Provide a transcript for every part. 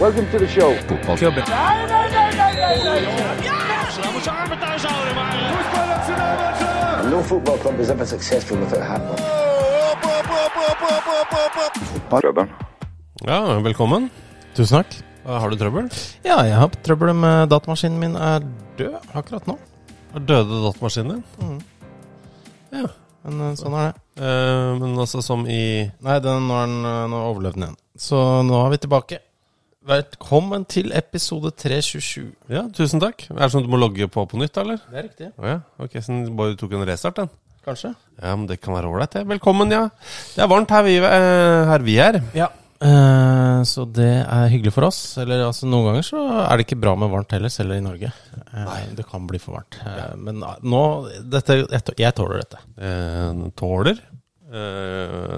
Welcome to the show. Laten we zijn armen thuis houden, maar... No football club is ever successful without having one. Fotballklubben. Ja, velkommen. Tusen takk. Eh, Har du trøbbel? Ja, jeg har trøbbel med datamaskinen min er død akkurat nå. Mm. Har døde datamaskiner? Ja. Men eh, sånn er det. Eh, men altså som i Nei, den, nå, er den, eh, nå overlevde den igjen. Så nå er vi tilbake. Velkommen til episode 327. Ja, tusen takk. Er det sånn at du må logge på på nytt, eller? Det er riktig. Å ja. Ok, så den bare tok en restart, den. Kanskje? Ja, men det kan være ålreit, det. Velkommen, ja. Det er varmt her vi, eh, her vi er. Ja. Eh, så det er hyggelig for oss. Eller altså, noen ganger så er det ikke bra med varmt heller, selv i Norge. Eh, Det kan bli for varmt. Eh, Men eh, nå dette, jeg tå- Jeg tåler dette. Eh, tåler. Eh,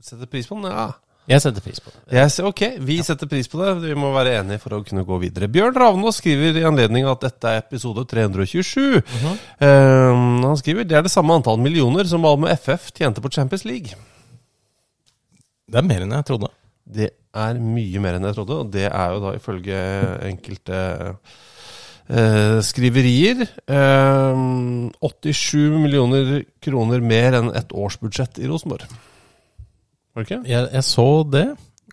setter pris på den, ja. Jeg setter pris på det. Yes, ok, vi setter pris på det. Vi må være enige for å kunne gå videre. Bjørn Ravnås skriver i anledning at dette er episode 327. Eh, han skriver det er det samme antall millioner som Malmö FF tjente på Champions League. Det er mer enn jeg trodde. Det er mye mer enn jeg trodde, og det er jo da ifølge enkelte eh, skriverier eh, 87 millioner kroner mer enn et årsbudsjett i Rosenborg. Var det ikke? Jeg, jeg så det,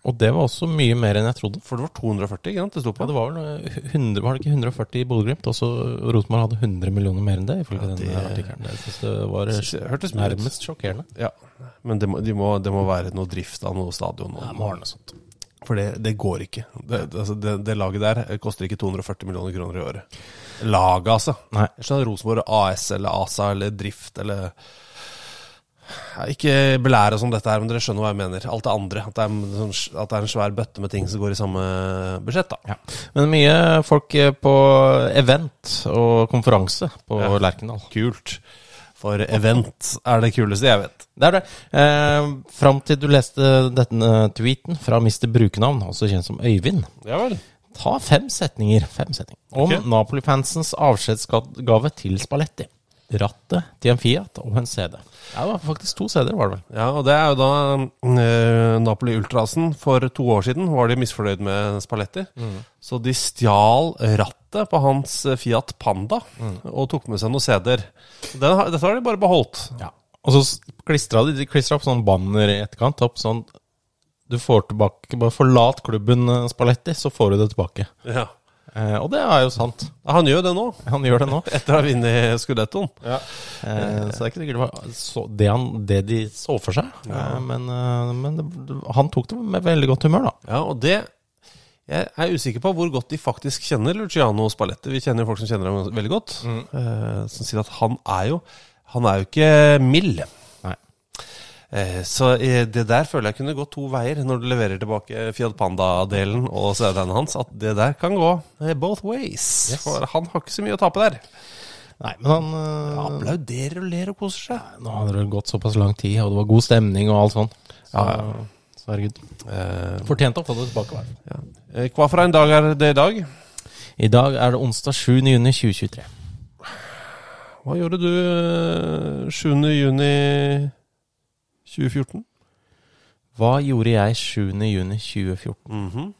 og det var også mye mer enn jeg trodde. For det var 240, ikke sant? Det sto på. Ja, det var vel eh, 100, var det ikke 140 i Bodø-Glimt? Også Rosenborg hadde 100 millioner mer enn det, ifølge Ja, det- den artikkelen. Jeg synes det var eh, Synes jeg hørtes mye ut. nærmest sjokkerende. Ja, men det må, de må, det må være noe drift av noe stadion. Og, For det, det går ikke. Det, det, altså, det, det laget der koster ikke 240 millioner kroner i året. Laget, altså. Nei. Jeg skjønner Rosenborg AS eller ASA eller drift eller Ja, Ikke belær oss om dette her, men dere skjønner hva jeg mener. Alt det andre. At det er, en sånn- at det er en svær bøtte med ting som går i samme budsjett, da. Ja. Men mye folk eh, på event og konferanse på Ja. Lerkendal. Kult. For event er det kuleste jeg vet. Det er det. Eh, fram til du leste denne tweeten fra Mr. Brukernavn, også kjent som Øyvind. Ja vel. Ta fem setninger, fem setninger om Ok. Napoli-fansens avskjedsgave til Spalletti. Rattet til en Fiat og en CD. Ja, det var faktisk to CD-er, var det vel. Ja, og det er jo da eh, Napoli Ultrasen. For to år siden var de misfornøyd med Spalletti. Så de stjal rattet på hans eh, Fiat Panda og tok med seg noen CD-er. Den har- Dette har de bare beholdt. Ja. Og så klistra de, de klistret opp sånn banner i etterkant. Opp sånn Du får tilbake Bare forlat klubben eh, Spalletti, så får du det tilbake. Ja. Eh, og det er jo sant. Han gjør jo det nå, Han gjør det nå. etter å ha vunnet Scudettoen. Eh, så det er ikke sikkert det var så, det, han, det de så for seg. Eh, men eh, men det, han tok det med veldig godt humør, da. Ja, og det Jeg er usikker på hvor godt de faktisk kjenner Luciano Spalletti. Vi kjenner jo folk som kjenner ham veldig godt, eh, som sier at han er jo Han er jo ikke mild. Nei. Eh, Så eh, det der føler jeg kunne gå to veier når du leverer tilbake Fiat Panda-delen og CD-en hans. At det der kan gå eh, both ways. Yes. For han har ikke så mye å tape der. Nei, men han eh, Applauderer og ler og koser seg. Nå hadde det gått såpass lang tid, og det var god stemning og alt sånn. Så, så herregud. Eh, Fortjente å få det tilbake. i hvert fall. eh, Hva for en dag er det i dag? I dag er det onsdag 7. juni 2023. Hva gjorde du eh, 7. juni 2014? Mhm. Hva gjorde jeg 7. juni 2014?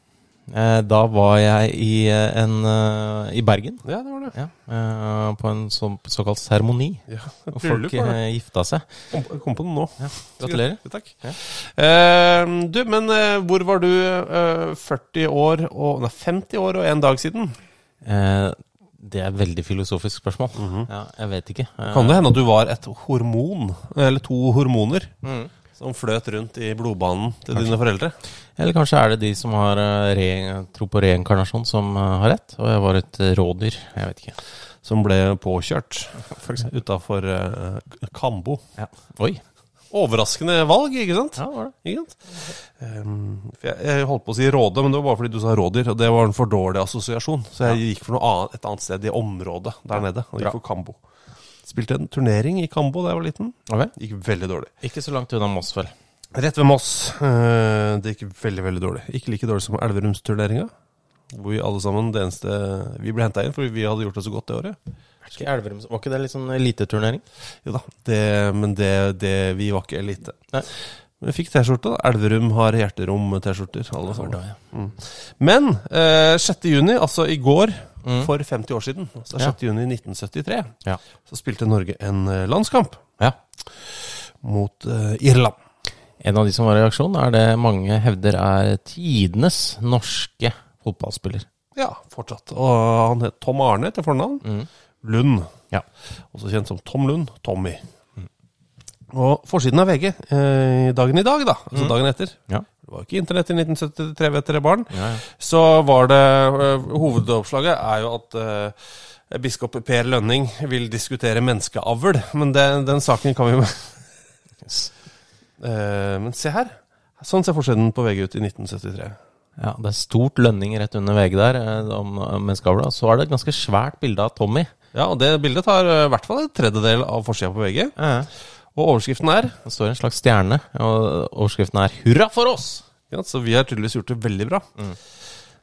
Eh, Da var jeg i, eh, en, eh, i Bergen. Ja, det var det. Ja, eh, på en så, såkalt seremoni. Ja, Og bryllup folk var det. eh, gifta seg. Kom, jeg kom på den nå. Gratulerer. Ja, Takk. Eh, du, men eh, hvor var du eh, 40 år og Nei, 50 år og en dag siden? Eh, Det er et veldig filosofisk spørsmål. ja, jeg vet ikke. Eh, Kan det hende at du var et hormon, eller to hormoner, Mm. som fløt rundt i blodbanen til dine foreldre? Eller kanskje er det de som har eh, re, tro på reinkarnasjon, som eh, har rett. Og jeg var et eh, rådyr. Jeg vet ikke. Som ble påkjørt utafor eh, Kambo. Oi. Overraskende valg, ikke sant? Ja, var det. Ikke sant? Ehm, for jeg, jeg holdt på å si Råde, men det var bare fordi du sa Rådyr, og det var en for dårlig assosiasjon. Så jeg gikk for noe annet, et annet sted i området der nede. Og Bra. gikk for Kambo. Spilte en turnering i Kambo da jeg var liten. Gikk veldig dårlig. Ikke så langt unna Moss, vel. Rett ved Moss. eh, det gikk veldig, veldig dårlig. Ikke like dårlig som Elverumsturneringa. Hvor vi alle sammen, det eneste Vi ble henta inn fordi vi hadde gjort det så godt det året. Ikke Elverum, var ikke det litt sånn eliteturnering? Jo da, det, men det, det Vi var ikke elite. Nei. Men vi fikk T-skjorte. da. Elverum har hjerterom-T-skjorter. alle sammen. Mm. ja. Men eh, 6. juni, altså i går, Mm. for 50 år siden, altså 6. juni 1973, Ja. så spilte Norge en eh, landskamp ja. mot eh, Irland. En av de som var i aksjon, er det mange hevder er tidenes norske fotballspiller. Ja, fortsatt. Og han het Tom Arne til fornavn. Mm. Lund. Ja. Også kjent som Tom Lund. Tommy. Og forsiden av VG eh, dagen i dag, da. Mm. Altså dagen etter. Ja. Det var ikke internett i 1973, vet dere, barn. Ja, ja. Så var det eh, Hovedoppslaget er jo at eh, biskop Per Lønning vil diskutere menneskeavl. Men det, den saken kan vi jo Eh, Men se her. Sånn ser forsiden på VG ut i 1973. Ja, Det er stort lønning rett under VG der eh, om eh, menneskeavla. Så er det et ganske svært bilde av Tommy. Ja, og det bildet tar eh, i hvert fall en tredjedel av forsida på VG. Og overskriften er Det står en slags stjerne, og overskriften er 'Hurra for oss'! Mm. ja, Så vi har tydeligvis gjort det veldig bra.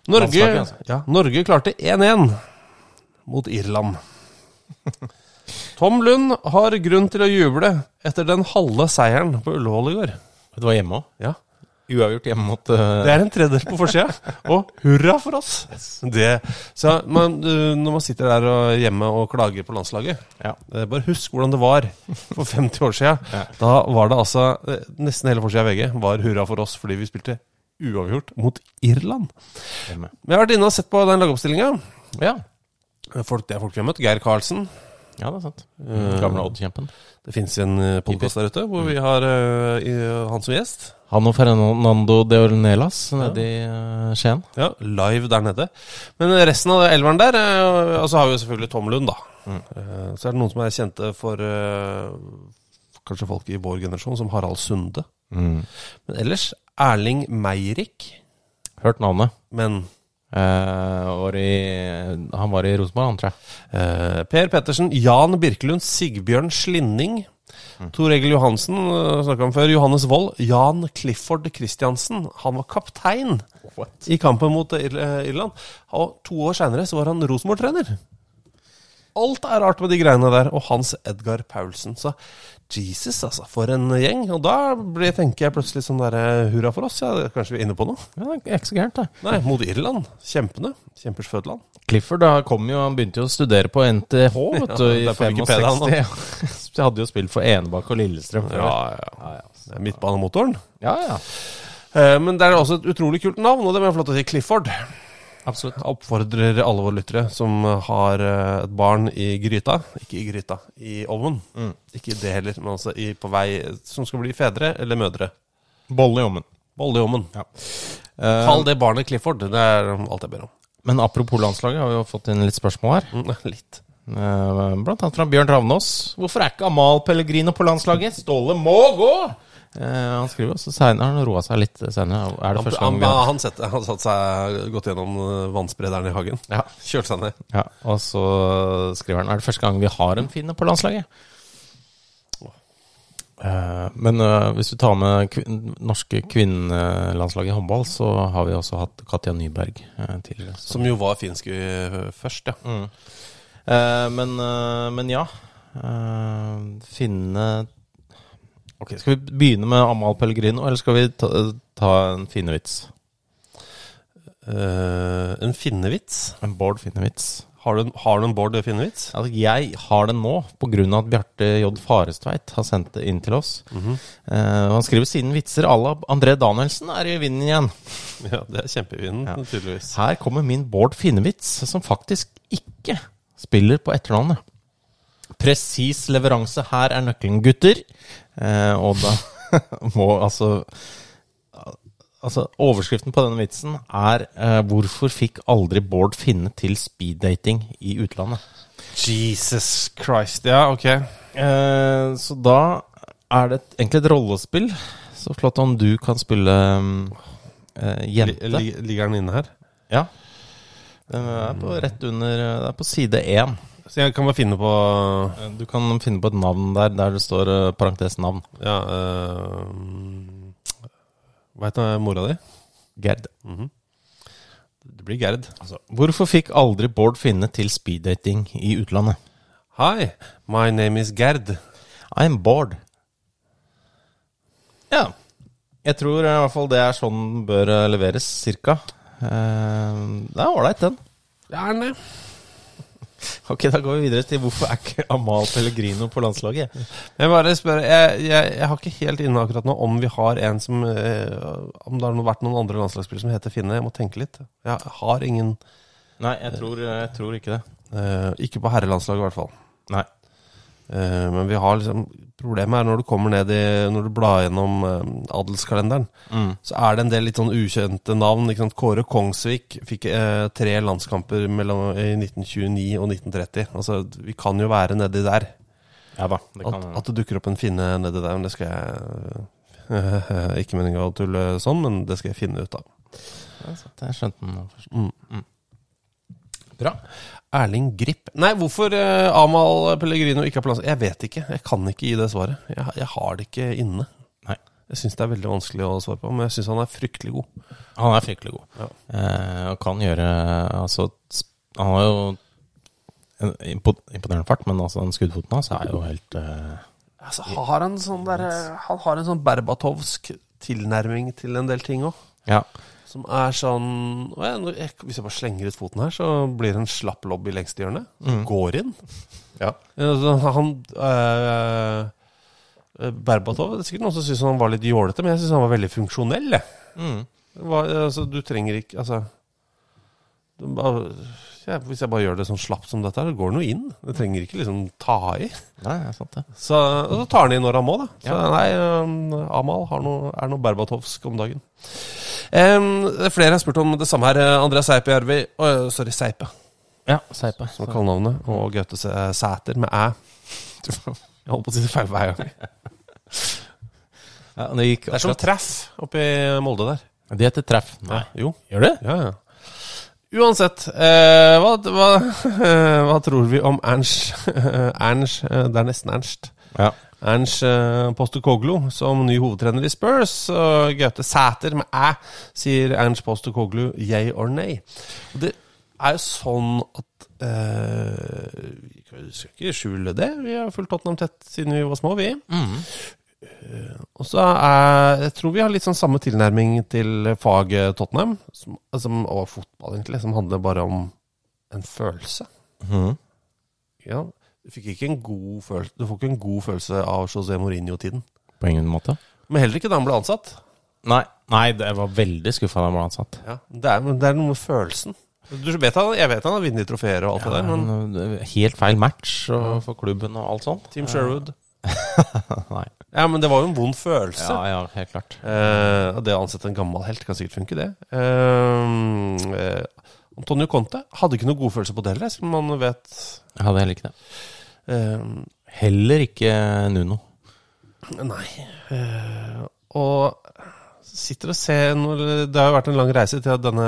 Norge, Landslaget, altså. ja, Norge klarte 1-1 mot Irland. Tom Lund har grunn til å juble etter den halve seieren på Ullevål i går. Det var hjemme òg. Ja, Uavgjort hjemme mot eh, Det er en tredjedel på forsida, og hurra for oss! Det, så man, du, når man sitter der og hjemme og klager på landslaget Ja. eh, Bare husk hvordan det var for 50 år sia. Da var det altså eh, Nesten hele forsida av VG var hurra for oss fordi vi spilte uavgjort mot Irland. hjemme. Men jeg har vært inne og sett på den lagoppstillinga. Ja. Folk, det er folk vi har møtt. Geir Karlsen. ja, det er sant. Eh. Gamle Odd-kjempen. Det fins en podkast der ute hvor vi har eh, i- han som gjest. Han og Fernando de Ornelas nede i eh, Skien. Ja, live der nede. Men resten av elveren der eh, Og så har vi jo selvfølgelig Tom Lund, da. Eh, Så er det noen som er kjente for eh, kanskje folk i vår generasjon, som Harald Sunde. Men ellers Erling Meirik. Hørt navnet. Men Eh, var i, han var i Rosenborg, han, tror jeg. eh, Per Pettersen, Jan Birkelund, Sigbjørn Slinning. Tor Egil Johansen eh, snakket om før. Johannes Wold. Jan Clifford Christiansen. Han var kaptein i kampen mot Ir- eh, Irland. Og to år seinere så var han Rosenborg-trener. Alt er rart med de greiene der, og Hans Edgar Paulsen. Så Jesus, altså, for en gjeng. Og da blir, tenker jeg plutselig sånn derre hurra for oss, ja, kanskje vi er inne på noe? Ja, det er ikke så gærent, det. Nei, mot Irland. Kjempene. Kjempers fødeland. Clifford da, kom jo, han begynte jo å studere på NTH vet du, det i er på Wikipedia, han, 65. Så hadde jo spilt for Enebakk og Lillestrøm. før. ja. Det er Midtbanemotoren. ja, ja. Eh, Men det er også et utrolig kult navn, og det må jeg få lov til å si Clifford. Absolutt. Jeg oppfordrer alle våre lyttere som har eh, et barn i gryta Ikke i gryta, i ovnen. Mm. Ikke det heller, men altså i, på vei som skal bli fedre eller mødre. Bolle i ommen. Bolle i ovnen. Ja. Kall det barnet Clifford. Det er alt jeg ber om. Eh, Men apropos landslaget, har vi jo fått inn litt spørsmål her. Mm, Litt. Eh, Blant annet fra Bjørn Ravnås. Hvorfor er ikke Amal Pellegrino på landslaget? Ståle må gå! Eh, han skriver også senere, han roa seg litt senere. Er det Han, første han, gang vi har han, sette, han satt seg godt gjennom eh, vannsprederen i hagen. Ja. Kjørte seg ned. Ja, og så skriver han Er det første gang vi har en finne på landslaget? Eh, Men eh, hvis du tar med kvin norske kvinnelandslag i håndball, så har vi også hatt Katja Nyberg eh, tidligere. Så. Som jo var finsk eh, først, ja. Eh, Men, eh, men ja eh, Finne Ok, Skal vi begynne med Amal Pellegrino, eller skal vi ta, ta en finnevits? eh, en finnevits. En Bård Finnevits. Har du, en- har du en Bård Finnevits? Altså, jeg har den nå pga. at Bjarte J. Farestveit har sendt det inn til oss. Mhm. Eh, og han skriver siden vitser à la André Danielsen er i vinden igjen. Ja, det er kjempevinden, Ja. tydeligvis. Her kommer min Bård Finnevits, som faktisk ikke spiller på etternavnet. Presis leveranse. Her er nøkkelen, gutter. Eh, og da må altså Altså, Overskriften på denne vitsen er eh, 'Hvorfor fikk aldri Bård Finne til speeddating i utlandet'? Jesus Christ. Ja, ok. Eh, så da er det et, egentlig et rollespill. Så flott om du kan spille mm, eh, Li, jente. li, ligger den inne her? ja. Den er på rett under eh, Det er på side én. Så jeg kan bare finne på Eh, Du kan finne på et navn der der det står eh, parentes navn. Ja eh, Hva heter mora di? Gerd. Mhm. Altså, Det blir Gerd. Hvorfor fikk aldri Bård Finne til speeddating i utlandet? Hi, my name is Gerd. I'm Bård. Ja. Jeg tror eh, i hvert fall det er sånn den bør eh, leveres, cirka. Eh, det er ålreit, den. Ok, da går vi videre til hvorfor er ikke Amal Pellegrino på landslaget? Jeg bare spør, jeg, jeg, jeg har ikke helt inne akkurat nå om vi har en som eh, Om det har no- vært noen andre landslagsspillere som heter Finne. Jeg må tenke litt. Jeg har ingen Nei, jeg tror, jeg tror ikke det. eh, Ikke på herrelandslaget, i hvert fall. Nei. Eh, men vi har liksom Problemet er når du kommer ned i Når du blar gjennom eh, adelskalenderen, Mm. så er det en del litt sånn ukjente navn. Ikke sant? Kåre Kongsvik fikk eh, tre landskamper mellom, i 1929 og 1930. Altså, vi kan jo være nedi der. Ja da, det At, kan at det dukker opp en finne nedi der, men det skal jeg Ikke meninga å tulle sånn, men det skal jeg finne ut av. Jeg skjønte den nå først. Bra. Erling Grip Nei, hvorfor eh, Amahl Pellegrino ikke har plass Jeg vet ikke. Jeg kan ikke gi det svaret. Jeg, jeg har det ikke inne. Nei. Jeg syns det er veldig vanskelig å svare på, men jeg syns han er fryktelig god. Han er fryktelig god. Ja. Eh, og kan gjøre Altså, sp- han har jo en impo- imponerende fart, men altså, den skuddfoten hans er jo helt eh, Altså, har han, sånn der, eh, han har en sånn berbatovsk tilnærming til en del ting òg. Ja. Som er sånn «Å, jeg, nå- jeg, Hvis jeg bare slenger ut foten her, så blir det en slapp lobby lengst i hjørnet. Går inn. Ja. Ja, altså, Han eh, eh, Berbatov Det er sikkert noen som syns han var litt jålete, men jeg syns han var veldig funksjonell. jeg. Mm. Det var, altså, du trenger ikke Altså du bare, ja, Hvis jeg bare gjør det sånn slapt som dette, her, det går noe inn. Det trenger ikke liksom ta i. Nei, det er sant, det. Så, og så tar han i når han må, da. Så Ja. nei, um, Amal har noe, er noe berbatovsk om dagen. Em, det er flere har spurt om det samme her. Eh, Andreas Seipe Jervi Å, Sorry, Seipe, Ja, Seipe. som er kallenavnet. Og Gaute Sæ- Sæter med æ. Jeg holdt på å si det feil hver gang. Ja, det gikk Det er som akkurat. treff oppi Molde der. De heter treff. Nei. Jo. Gjør det? Ja, ja. Uansett, eh, hva, hva, hva tror vi om Ernst Ernst, eh, Det er nesten Ernst. Ja. Ernst eh, Postekoglu som ny hovedtrener i Spurs. Og Gaute Sæter med æ sier Ernst Postekoglu yay or nay. Og det er jo sånn at eh, Vi skal ikke skjule det. Vi har fulgt Tottenham tett siden vi var små, vi. Eh, og så er Jeg tror vi har litt sånn samme tilnærming til faget Tottenham, som, som, og fotball, egentlig, som handler bare om en følelse. Ja, du fikk ikke en god følelse Du får ikke en god følelse av José Mourinho-tiden. På ingen måte. Men heller ikke da han ble ansatt. Nei, nei det var veldig skuffa da han ble ansatt. Ja, det, er, men det er noe med følelsen. Du vet han, jeg vet han har vunnet trofeer og alt det der, men Men, eh, Helt feil match og for klubben og alt sånt. Team Sherwood Nei. Ja, men det var jo en vond følelse. Ja, ja, helt klart. Eh, og det å ansette en gammel helt kan sikkert funke, det. Eh, eh, Antonio Conte hadde ikke noe god følelse på det heller, som man vet. Jeg hadde heller ikke det. Eh, Heller ikke Nuno. Nei. Eh, og sitter og ser når, Det har jo vært en lang reise til denne,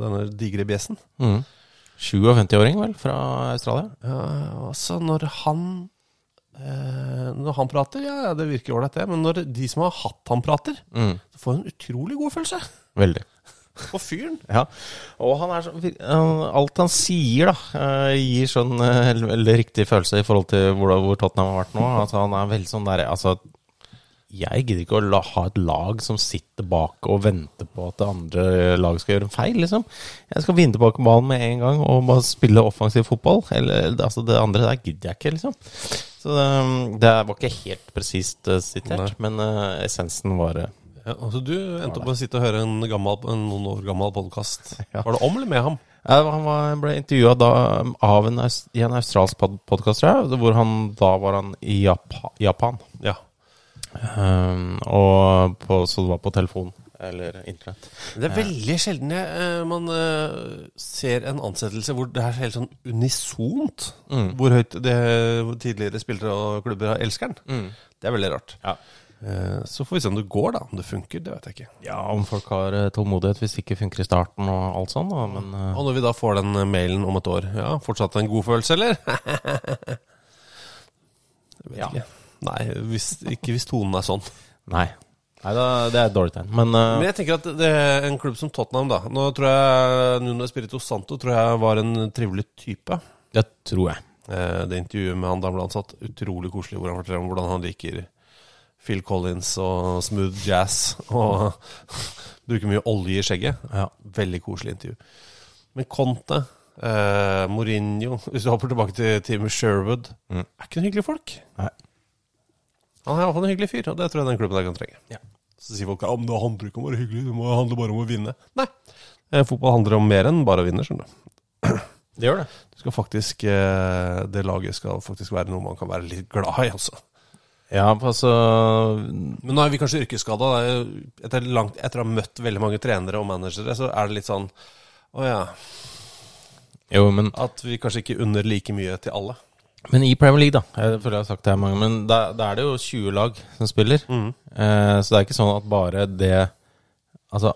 denne digre bjessen. Mm. 57-åring, vel, fra Australia? Ja, Eh, og så når han eh, Når han prater, ja, ja, det virker ålreit, det. Men når de som har hatt han prater, Mm. så får du en utrolig god følelse Veldig. på fyren. Ja, og han er så, vir- han- alt han sier da, eh, gir sånn eh, veldig riktig følelse i forhold til hvor, hvor Tottenham har vært nå. Altså, han er veldig sånn der, altså, Jeg gidder ikke å la, ha et lag som sitter bak og venter på at det andre laget skal gjøre en feil, liksom. Jeg skal vinne tilbake ballen med en gang og bare spille offensiv fotball. Eller altså, det andre der gidder jeg ikke, liksom. Så um, det var ikke helt presist eh, sitert, men eh, essensen var eh, Ja, altså Du endte opp med å sitte og høre en, gammel, en noen år gammel podkast. Var det om eller med ham? Ja, Han var, ble intervjua av en, aus- i en australsk podkast, tror jeg, hvor han da var han i Japan. Japan. Ja. Um, og på, så det var på telefon eller internett. Det er veldig sjelden jeg, eh, man eh, ser en ansettelse hvor det er helt sånn unisont hvor høyt det tidligere spillere og klubber har elskeren. Det er veldig rart. Ja. Eh, Så får vi se om det går, da. Om det funker, det vet jeg ikke. ja, om folk har eh, tålmodighet hvis det ikke funker i starten og alt sånt, da, men eh, Og når vi da får den eh, mailen om et år, ja, fortsatt en god følelse, eller? jeg vet Ja. ikke. Nei, hvis, ikke hvis tonen er sånn. Nei. Nei da, det er et dårlig tegn. Men eh, Men jeg tenker at det er en klubb som Tottenham, da Nå tror jeg Nuno Espirito Santo tror jeg var en trivelig type. det tror jeg. Eh, Det intervjuet med han da han ble ansatt, utrolig koselig hvor han forteller om hvordan han liker Phil Collins og smooth jazz og bruker mye olje i skjegget. Ja, Veldig koselig intervju. Men Conte, eh, Mourinho Hvis du hopper tilbake til teamet Sherwood Er ikke noen hyggelige folk. Nei. Han er iallfall en hyggelig fyr, og det tror jeg den klubben der kan trenge. Så sier folk at det handler ikke om å være hyggelig, det må- handler bare om å vinne. Nei, eh, fotball handler om mer enn bare å vinne, skjønner du. Det gjør det. Du skal faktisk, eh, det laget skal faktisk være noe man kan være litt glad i, altså. Ja, altså Men nå er vi kanskje yrkesskada. da. Etter, langt- etter å ha møtt veldig mange trenere og managere, så er det litt sånn Å ja. Jo, men At vi kanskje ikke unner like mye til alle. Men i Premier League, da. Jeg føler jeg har sagt det her mange Men da, da er det jo 20 lag som spiller. Mm. Eh, så det er ikke sånn at bare det Altså,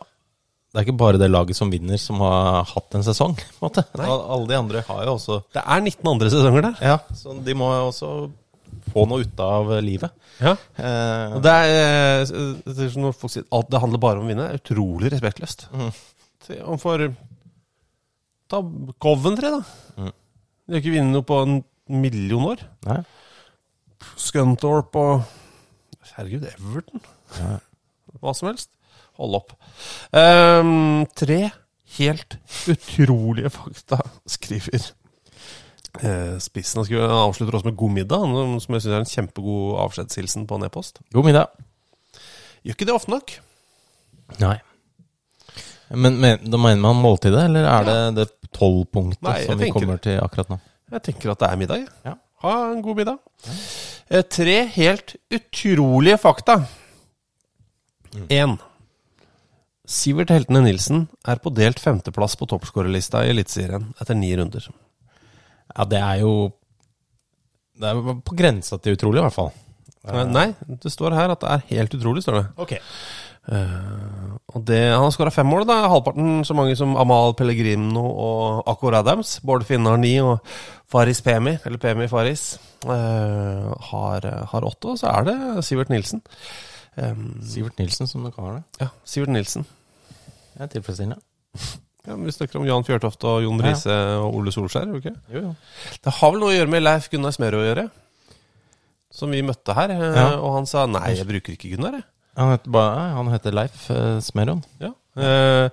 det er ikke bare det laget som vinner, som har hatt en sesong, på en måte. Al alle de andre har jo også Det er 19 andre sesonger der. Ja, så de må jo også få noe ut av livet. Ja. Eh, Og det er, eh, s- det er som når folk sier at det handler bare om å vinne, er utrolig respektløst. Se, Om for Ta Coventry, da. De har ikke vunnet noe på en million år. nei. Scunthorpe og Herregud, Everton. Hva som helst. Hold opp. Ehm, tre helt utrolige fakta, skriver eh, Spissen. Han skriver- han avslutter også med god middag, han, som jeg syns er en kjempegod avskjedshilsen på en e-post. God middag. Gjør ikke det ofte nok. Nei. Men, men da mener man måltidet, eller er det det Nei, tolvpunktet jeg som vi tenker kommer til akkurat nå? Jeg tenker at det er middag. jeg. Ja. Ha en god middag. Eh, tre helt utrolige fakta. Én. Sivert Heltene Nilsen er på delt femteplass på toppskårerlista i Eliteserien etter ni runder. Ja, det er jo Det er på grensa til utrolig, i hvert fall. Eh, Nei, det står her at det er helt utrolig, står det. Eh, Ok. Og det, han har skåra fem mål, da. Halvparten så mange som Amal Pellegrino og Akor Adams. Bård Finne har ni, og Faris Pemi, eller Pemi Faris, eh, har, har åtte. Og så er det Sivert Nilsen. Sivert Nilsen som du kaller det. Ja, Sivert Nilsen. Det er tilfredsstillende. Ja, men Vi snakker om Jan Fjørtoft og Jon Ja. Riise og Ole Solskjær. gjør vi ikke? Jo, jo. Det har vel noe å gjøre med Leif Gunnar Smerud å gjøre, som vi møtte her. eh, Ja. Og han sa nei, jeg bruker ikke Gunnar. jeg». Han heter, bare, nei, han heter Leif uh, Smeron. Ja. Eh,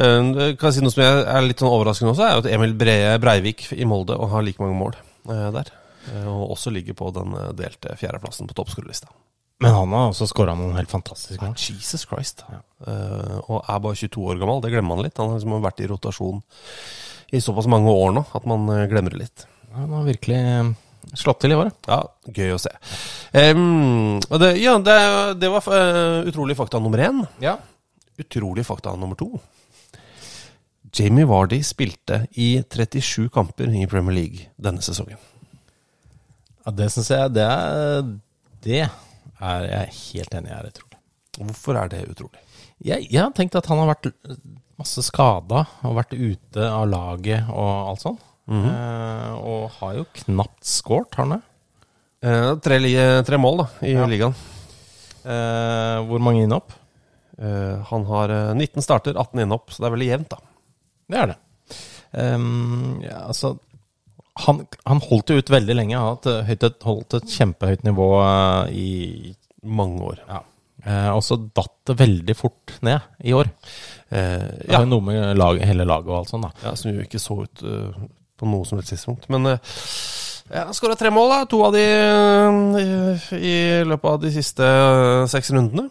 eh, kan jeg si noe som jeg er litt sånn overraskende også, er jo at Emil Bre Breivik i Molde og har like mange mål eh, der. Eh, Og også ligger på den eh, delte fjerdeplassen på toppskolelista. Men han har også skåra noen helt fantastiske mål. Jesus Christ. Eh, og er bare 22 år gammel, det glemmer man litt. Han har liksom vært i rotasjon i såpass mange år nå at man eh, glemmer det litt. Han har virkelig eh, slått til i året. Ja, gøy å se. Em, og det, ja, det, det var eh, utrolig fakta nummer én. Ja. Utrolig fakta nummer to. Jamie Vardy spilte i 37 kamper i Premier League denne sesongen. det syns jeg det er, det er jeg helt enig i er utrolig. Hvorfor er det utrolig? Jeg, jeg har tenkt at han har vært l- masse skada og vært ute av laget og alt sånn. Eh, og har jo knapt skåret, har han det? Eh, tre, li- tre mål da, i ligaen. Eh, hvor mange innhopp? Eh, han har eh, 19 starter, 18 innhopp, så det er veldig jevnt, da. Det er det. Ehm, ja, altså han, han holdt jo ut veldig lenge. Han har hatt, eh, høyt et, holdt et kjempehøyt nivå eh, i mange år. Ja. Eh, og så datt det veldig fort ned i år. Eh, Det er jo noe med lag, hele laget og alt sånt, da. Ja, som jo ikke så ut eh, på noe som helst tidspunkt. Men uh, jeg har skåra tre mål, da. To av de eh, i, i løpet av de siste eh, seks rundene.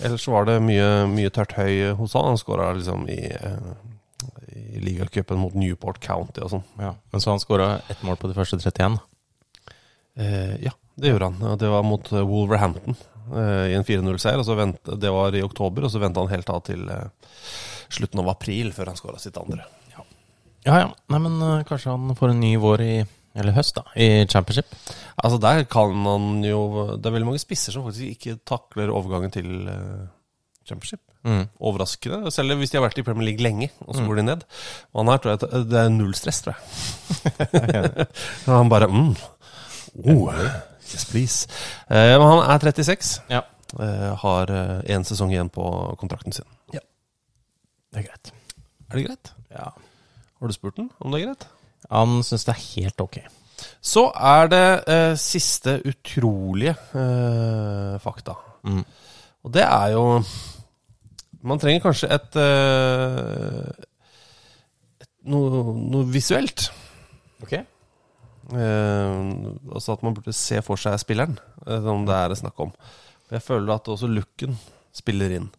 Ellers var det mye, mye tørt høy hos han. Han skåra liksom i, uh, i ligacupen mot Newport County og sånn. Ja. Men så han skåra ett mål på de første 31. Eh, ja, det gjorde han. Og Det var mot eh, Wolverhampton eh, i en 4-0-seier. og så vent- Det var i oktober, og så venta han helt av til eh, slutten av april før han skåra sitt andre. Ja ja. Nei, men eh, kanskje han får en ny vår i eller høst, da, i championship. Altså Der kan han jo Det er veldig mange spisser som faktisk ikke takler overgangen til eh, championship. Overraskende. Selv hvis de har vært i Premier League lenge, og så går de ned. Og han her tror jeg at det er null stress, tror jeg. Og han bare mm. oh, Yes, please. Eh, men han er 36. Ja. eh, har én sesong igjen på kontrakten sin. Det er greit. Er det greit? Ja. Har du spurt den om det er greit? Han syns det er helt ok. Så er det eh, siste utrolige eh, fakta. Og det er jo Man trenger kanskje et, eh, et noe, noe visuelt. Ok? Eh, altså at man burde se for seg spilleren, eh, som det er snakk om. For jeg føler at også looken spiller inn.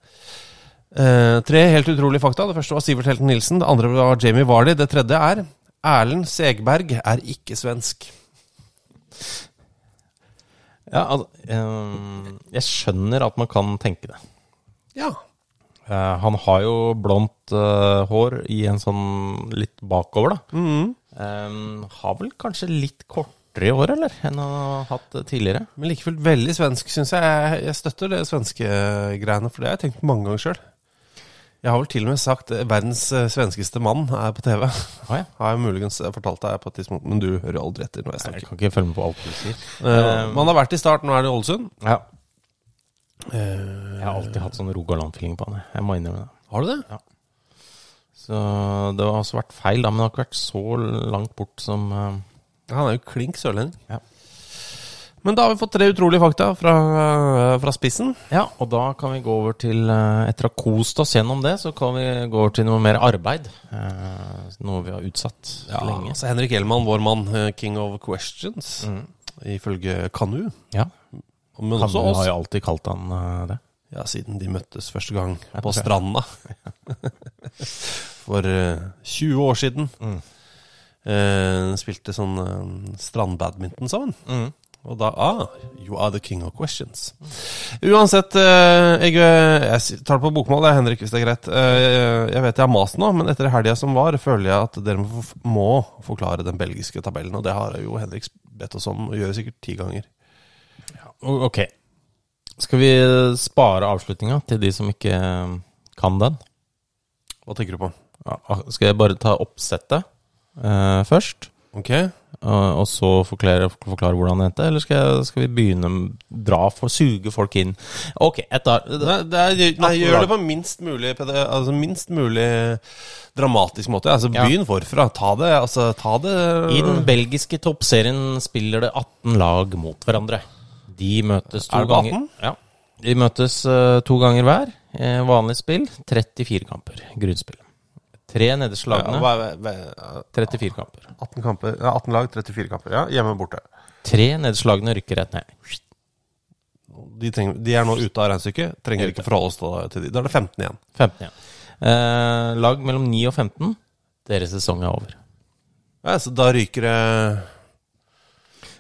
Eh, tre helt utrolige fakta. Det første var Sivert Helten Nilsen. Det andre var Jamie Vardy. Det tredje er Erlend Segberg er ikke svensk. Ja, al eh, jeg skjønner at man kan tenke det. Ja, Eh, han har jo blondt eh, hår i en sånn litt bakover, da. Eh, har vel kanskje litt kortere i år, eller? Enn han har hatt tidligere. Men like fullt veldig svensk, syns jeg. jeg. Jeg støtter det svenske eh, greiene, for det har jeg tenkt mange ganger sjøl. Jeg har vel til og med sagt eh, 'verdens eh, svenskeste mann' er på TV. Ah, ja. Har jeg muligens eh, fortalt deg på et tidspunkt, men du hører jo aldri etter når jeg Jeg snakker. kan ikke følge med på alt du sier. Ehm, Eh, Man har vært i start, nå er det i Ålesund. Ja. Jeg har alltid hatt sånn Rogaland-feeling på han. jeg. Jeg må innrømme det. Har du det? Ja. Så det har også vært feil, da, men det har ikke vært så langt bort som eh, Han er jo klink sørlending. Ja. Men da har vi fått tre utrolige fakta fra, fra spissen. Ja, og da kan vi gå over til eh, Etter å ha kost oss gjennom det, så kan vi gå over til noe mer arbeid. eh, Noe vi har utsatt lenge. Så Henrik Hellmann, vår mann, eh, king of questions, ifølge Kanu. Ja, Men Han også oss. har jo alltid kalt han eh, det. Ja, siden de møttes første gang Ja, på det tror jeg. stranda. For eh, 20 år siden. Eh, spilte sånn eh, strandbadminton sammen. Og da ah, You are the king of questions. Uansett, eh, jeg, eh, jeg s- tar det på bokmål, jeg, Henrik, hvis det er greit. Eh, jeg vet jeg har mast nå, men etter helga som var, føler jeg at dere må, f- må forklare den belgiske tabellen. Og det har jo Henrik bedt oss om å gjøre sikkert ti ganger. O- Ok. Skal vi spare avslutninga til de som ikke eh, kan den? Hva tenker du på? Ja, Skal jeg bare ta oppsettet eh, først? Ok? eh, og så forklare, forklare hvordan det endte, eller skal, jeg, skal vi begynne å dra for å suge folk inn? Ok, jeg tar Nei, det er, nei, Akkurat. gjør det på minst mulig, ped- altså minst mulig dramatisk måte. Altså, Ja. Begynn forfra. Ta det, altså, ta det I den belgiske toppserien spiller det 18 lag mot hverandre. De møtes to Er det på ganger. 18? Ja. De møtes eh, to ganger hver. Eh, vanlig spill 34 kamper. Grunnspill. Tre nederste Ja, lagene, hva- hva- hva- 34 kamper. 18, kamper, ja, 18 lag, 34 kamper. Ja, hjemme og borte. Tre nederste lagene rykker rett ned. De, trenger, de er nå ute av regnestykket. Trenger ikke forholde oss til- til de. Da er det 15 igjen. 15 igjen. Eh, lag mellom 9 og 15. Deres sesong er over. Ja, så da ryker det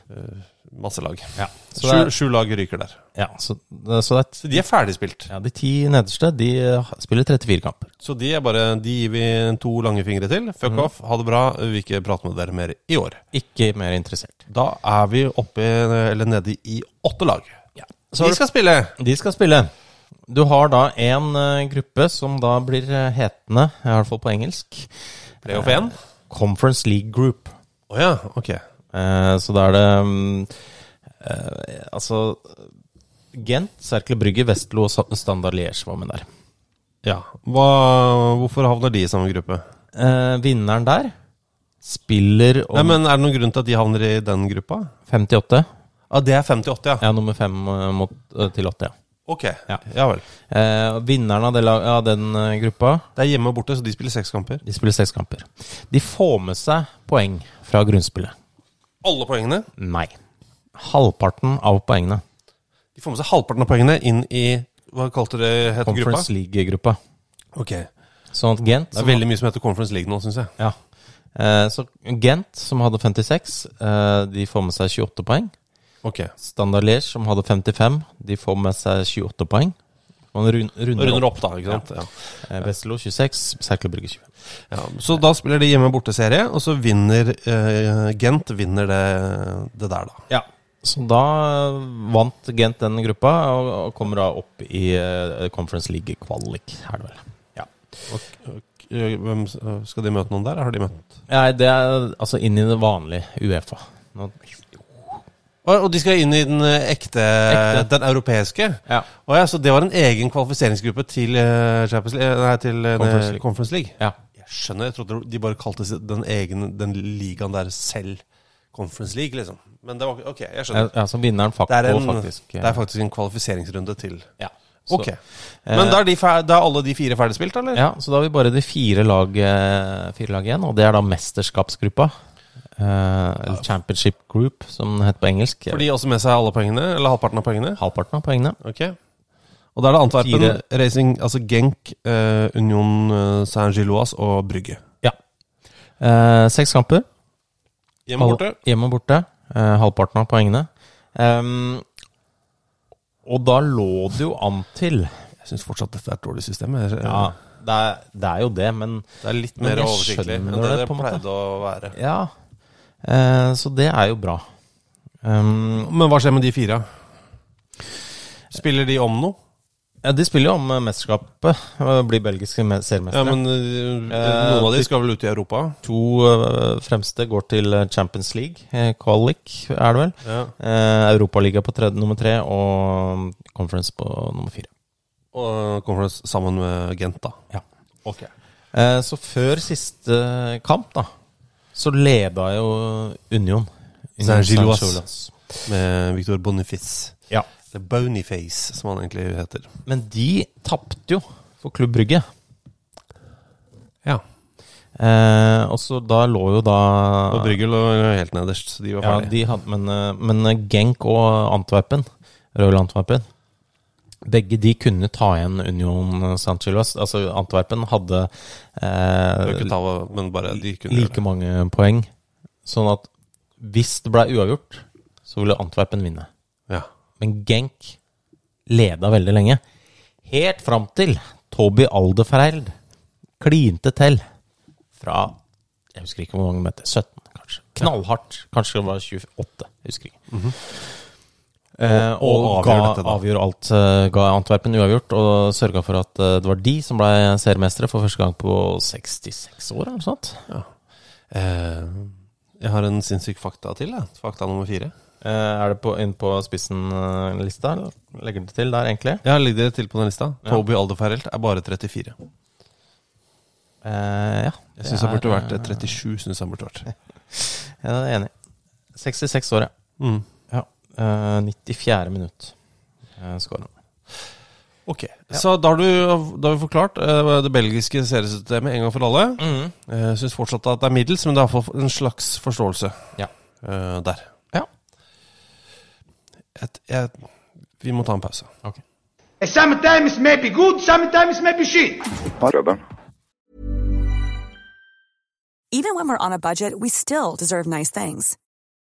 eh, masse lag. Ja, så det Sju, er, sju lag ryker der. ja, så, så det Så er de er ferdigspilt. ja, De ti nederste de eh, spiller 34 kamper. Så de er bare, de gir vi to lange fingre til. Fuck off, ha det bra. Vi vil ikke prate med dere mer i år. Ikke mer interessert. Da er vi oppe, eller nede i åtte lag. Så har Vi du- skal spille! De skal spille. Du har da en eh, gruppe som da blir eh, hetende, i hvert fall på engelsk, Playoff 1. Conference League Group. Å ja, ok. Eh, så da er det mm, eh, Altså Gent, Cercle Brygge, Vestlo og Sa- Standard Liège var med der. Ja. Hva, hvorfor havner de i samme gruppe? Eh, vinneren der spiller Nei, om men Er det noen grunn til at de havner i den gruppa? 58. Ja, det er 50-80, ja. Ja, nummer fem eh, mot, eh, til åtte, ja. Ok. Ja. Ja. vel. Eh, og vinneren av, det, lag- av den eh, gruppa Det er hjemme og borte, så de spiller seks kamper. de spiller seks kamper. De får med seg poeng fra grunnspillet. Alle poengene. Nei. Halvparten av poengene. De får med seg halvparten av poengene inn i Hva kalte det het gruppa? Conference League-gruppa. Ok. Det Sånn at Gent er veldig mye som heter Conference League nå, syns jeg. Ja. Eh, så Gent, som hadde 56, eh, de får med seg 28 poeng. Ok. Standard Liège, som hadde 55, de får med seg 28 poeng. Man rund, Og runder, Runder opp, opp. da. ikke sant? Ja. Eh, Westerlo 26, Serkelbrygge 20. Ja, så da spiller de hjemme og borte-serie, og så vinner eh, Gent vinner det, det der, da. Ja. Så da eh, vant Gent den gruppa, og, og kommer da opp i eh, Conference League kvalik, er det vel. Ja. Eh, Hvem, eh, skal de møte noen der? Har de møtt Nei, det er altså inn i det vanlige Uefa. Nå, Å, Og de skal inn i den eh, ekte, Ekte. den europeiske? Ja. Å ja, så det var en egen kvalifiseringsgruppe til, eh, Champions League, nei, til eh, Conference League. Conference League? ja. Jeg skjønner, jeg trodde de bare kalte den egen, den ligaen der selv Conference League, liksom. Men det var ok, jeg skjønner. ja, så vinneren fakt, Det er, en, faktisk. eh, det er faktisk en kvalifiseringsrunde til. ja. Så- Ok. Men da er, de fer, da er alle de fire ferdig spilt, eller? Ja, så da har vi bare de fire lag, eh, fire lag igjen, og det er da mesterskapsgruppa. eh, Eller Championship Group, som den heter på engelsk. Får de også med seg alle poengene, eller halvparten av poengene? Halvparten av poengene. Ok. Og da er det Antwerpen, Fire. Racing, altså Genk, eh, Union eh, Saint-Gilloise og Brygge. Ja. Eh, seks kamper. Hjemme borte. Hal- Hjemme og borte. Eh, halvparten av poengene. Ehm, og da lå det jo an til Jeg syns fortsatt dette er et dårlig system. Jeg, Ja, det er, det er jo det, men Det er litt Men mer jeg oversiktlig enn det skjønner det det på en måte. pleide å være. Ja. Eh, så det er jo bra. Ehm, Men hva skjer med de fire? Spiller de om noe? ja, de spiller jo om eh, mesterskapet, og blir belgiske me- seriemestere. Ja, men øh, noen av de skal vel ut i Europa? to eh, fremste går til eh, Champions League, eh, Qualic er det vel. Ja. Eh, Europaliga på tredje, nummer tre og mm, Conference på nummer fire. Og kommer de sammen med Gent, da? Ja. Ok. Eh, så før siste kamp, da, så leda jo Union. Union Saint-Gilloise. Saint-Gilloise. Med Victor Boniface. Ja. Eller Boniface, som han egentlig heter. Men de tapte jo for Klubb Brygge. Ja. Eh, og så da lå jo da Og Brygge lå helt nederst, så de var Ja, ferdige. de hadde, men, eh, men eh, Genk og Antwerpen, Royal Antwerpen, begge de kunne ta igjen Union Sanchez. Altså Antwerpen hadde Det var ikke eh, tallet, men bare de kunne gjøre like det. mange poeng. Sånn at hvis det ble uavgjort, så ville Antwerpen vinne. Ja. Men Genk leda veldig lenge. Helt fram til Toby Alderfereld klinte til fra Jeg husker ikke hvor mange meter. 17, kanskje. Knallhardt. Kanskje det var 28. Jeg husker ikke. Eh, Mhm. og Og ga, avgjør dette da. avgjør alt. eh, Ga Antwerpen uavgjort og sørga for at eh, det var de som ble seriemestere for første gang på 66 år, eller noe sånt. Eh, jeg har en sinnssyk fakta til. Jeg. Fakta nummer fire. Eh, Er det på, inn på spissen-lista? eller Legger det til der, egentlig? Ja, Ligg dere til på den lista. Toby Alderferelt er bare 34. Eh, ja. eh, Jeg syns han burde vært 37. Synes han burde vært Ja, det er jeg enig. i. 66 år, ja. mm. ja. Eh, 94. minutt. Uh, Skåren. Ok, så da har, du, da har vi forklart eh, det belgiske seriesystemet en gang for alle. Jeg syns Eh, fortsatt at det er middels, men det er iallfall en slags forståelse Ja. eh, der. Ja. Et, jeg, vi må ta en pause. Ok. Sometimes maybe good, sometimes maybe shit. Even when we're on a budget, we still deserve nice things.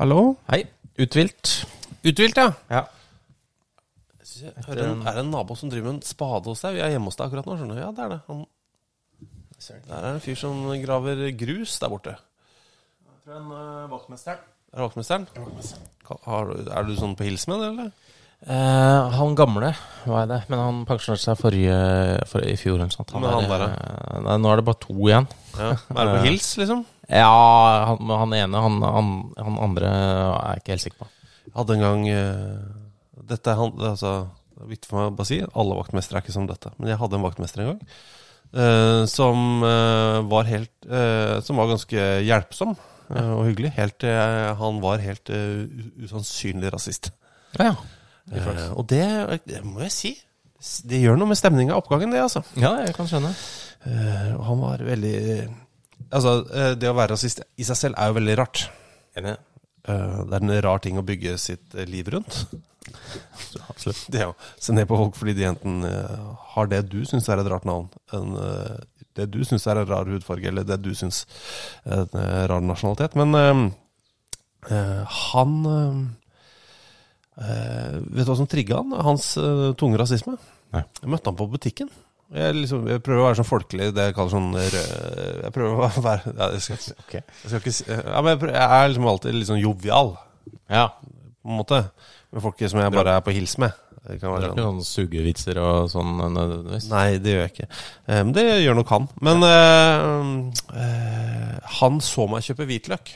Hallo? Hei. Uthvilt. Uthvilt, ja. Ja. Er det, en, er det en nabo som driver med en spade hos deg? Vi er hjemme hos deg akkurat nå, skjønner du. Ja, det er det. Han, der er det en fyr som graver grus der borte. Jeg tror en uh, vaktmesteren. Er det vaktmesteren? Ka- har du- Er du sånn på hils med det, eller? Eh, han gamle var jeg det, men han pensjonerte seg forrige, for, i fjor. eller noe sånt. Men han der, eh, nei, nå er det bare to igjen. Ja. Er det på Eh, hils, liksom? Ja, han, men han ene, han, han, han andre er jeg ikke helt sikker på. Jeg hadde en gang eh, Dette er han, det er altså det er viktig for meg å bare si, alle vaktmestere er ikke som dette. Men jeg hadde en vaktmester en gang eh, som eh, var helt eh, Som var ganske hjelpsom eh, og hyggelig. Helt til jeg- han var helt eh, u- usannsynlig rasist. Ja, ja. Eh, og det, det må jeg si. Det gjør noe med stemninga i oppgangen, det, altså. ja, jeg kan skjønne. Eh, og han var veldig Altså, eh, det å være rasist i seg selv er jo veldig rart. Enig. Eh, det er en rar ting å bygge sitt eh, liv rundt. Det å se ned på folk fordi de enten eh, har det du syns er et rart navn, en, eh, det du syns er en rar hudfarge, eller det du syns er en eh, rar nasjonalitet. Men eh, eh, han eh, eh, Vet du hva som trigga han? Hans eh, tunge rasisme? Nei. Jeg møtte han på butikken. Jeg, liksom, jeg prøver å være sånn folkelig. Det jeg kaller sånn rød Jeg prøver å være ja, jeg, skal, Ok. jeg skal ikke si ja, men jeg, prøver, jeg er liksom alltid litt sånn jovial, Ja. på en måte. Med folk som jeg bare er på hils med. Det kan Det er være ikke sånne sugevitser og sånn eh, nødvendigvis. Nei, det gjør jeg ikke. Eh, Men det gjør nok han. Men eh, eh, han så meg kjøpe hvitløk.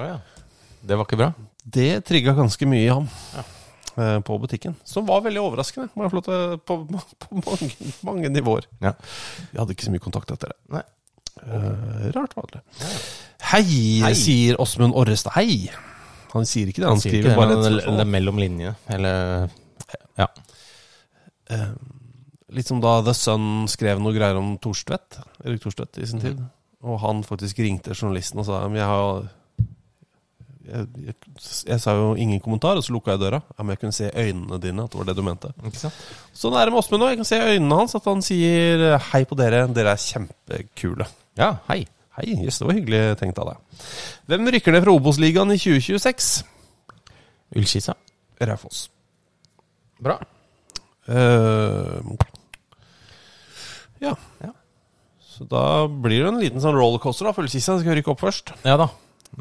Å, ja. Det var ikke bra. Det trigga ganske mye i ham. eh, På butikken. Som var veldig overraskende. Må jeg få lov til å- på, på mange, mange nivåer. Ja. Vi hadde ikke så mye kontakt etter det. Nei. Eh, rart var det. Hei, sier Åsmund Orrestad. Hei! Han sier ikke det, han, Han sier skriver ikke det, bare men et det, det spørsmål. er mellom linjene. Eller Ja. Eh, Litt som da The Sun skrev noe greier om Thorstvedt, Erik Thorstvedt i sin tid. Og han faktisk ringte journalisten og sa Men jeg har jeg, jeg, jeg sa jo ingen kommentar, og så lukka jeg døra. Ja, men jeg kunne se i øynene dine at det var det du mente. Ikke sant? Sånn er det med Åsmund nå. Jeg kan se i øynene hans at han sier eh, hei på dere, dere er kjempekule. Ja, hei. Hei, jøss, det var hyggelig tenkt av deg. Hvem rykker ned fra Obos-ligaen i 2026? Ullkisa. Raufoss. Bra. Eh, ja. Ja. Så da blir det en liten sånn rollercoaster. da Fullkista skal rykke opp først. Ja da.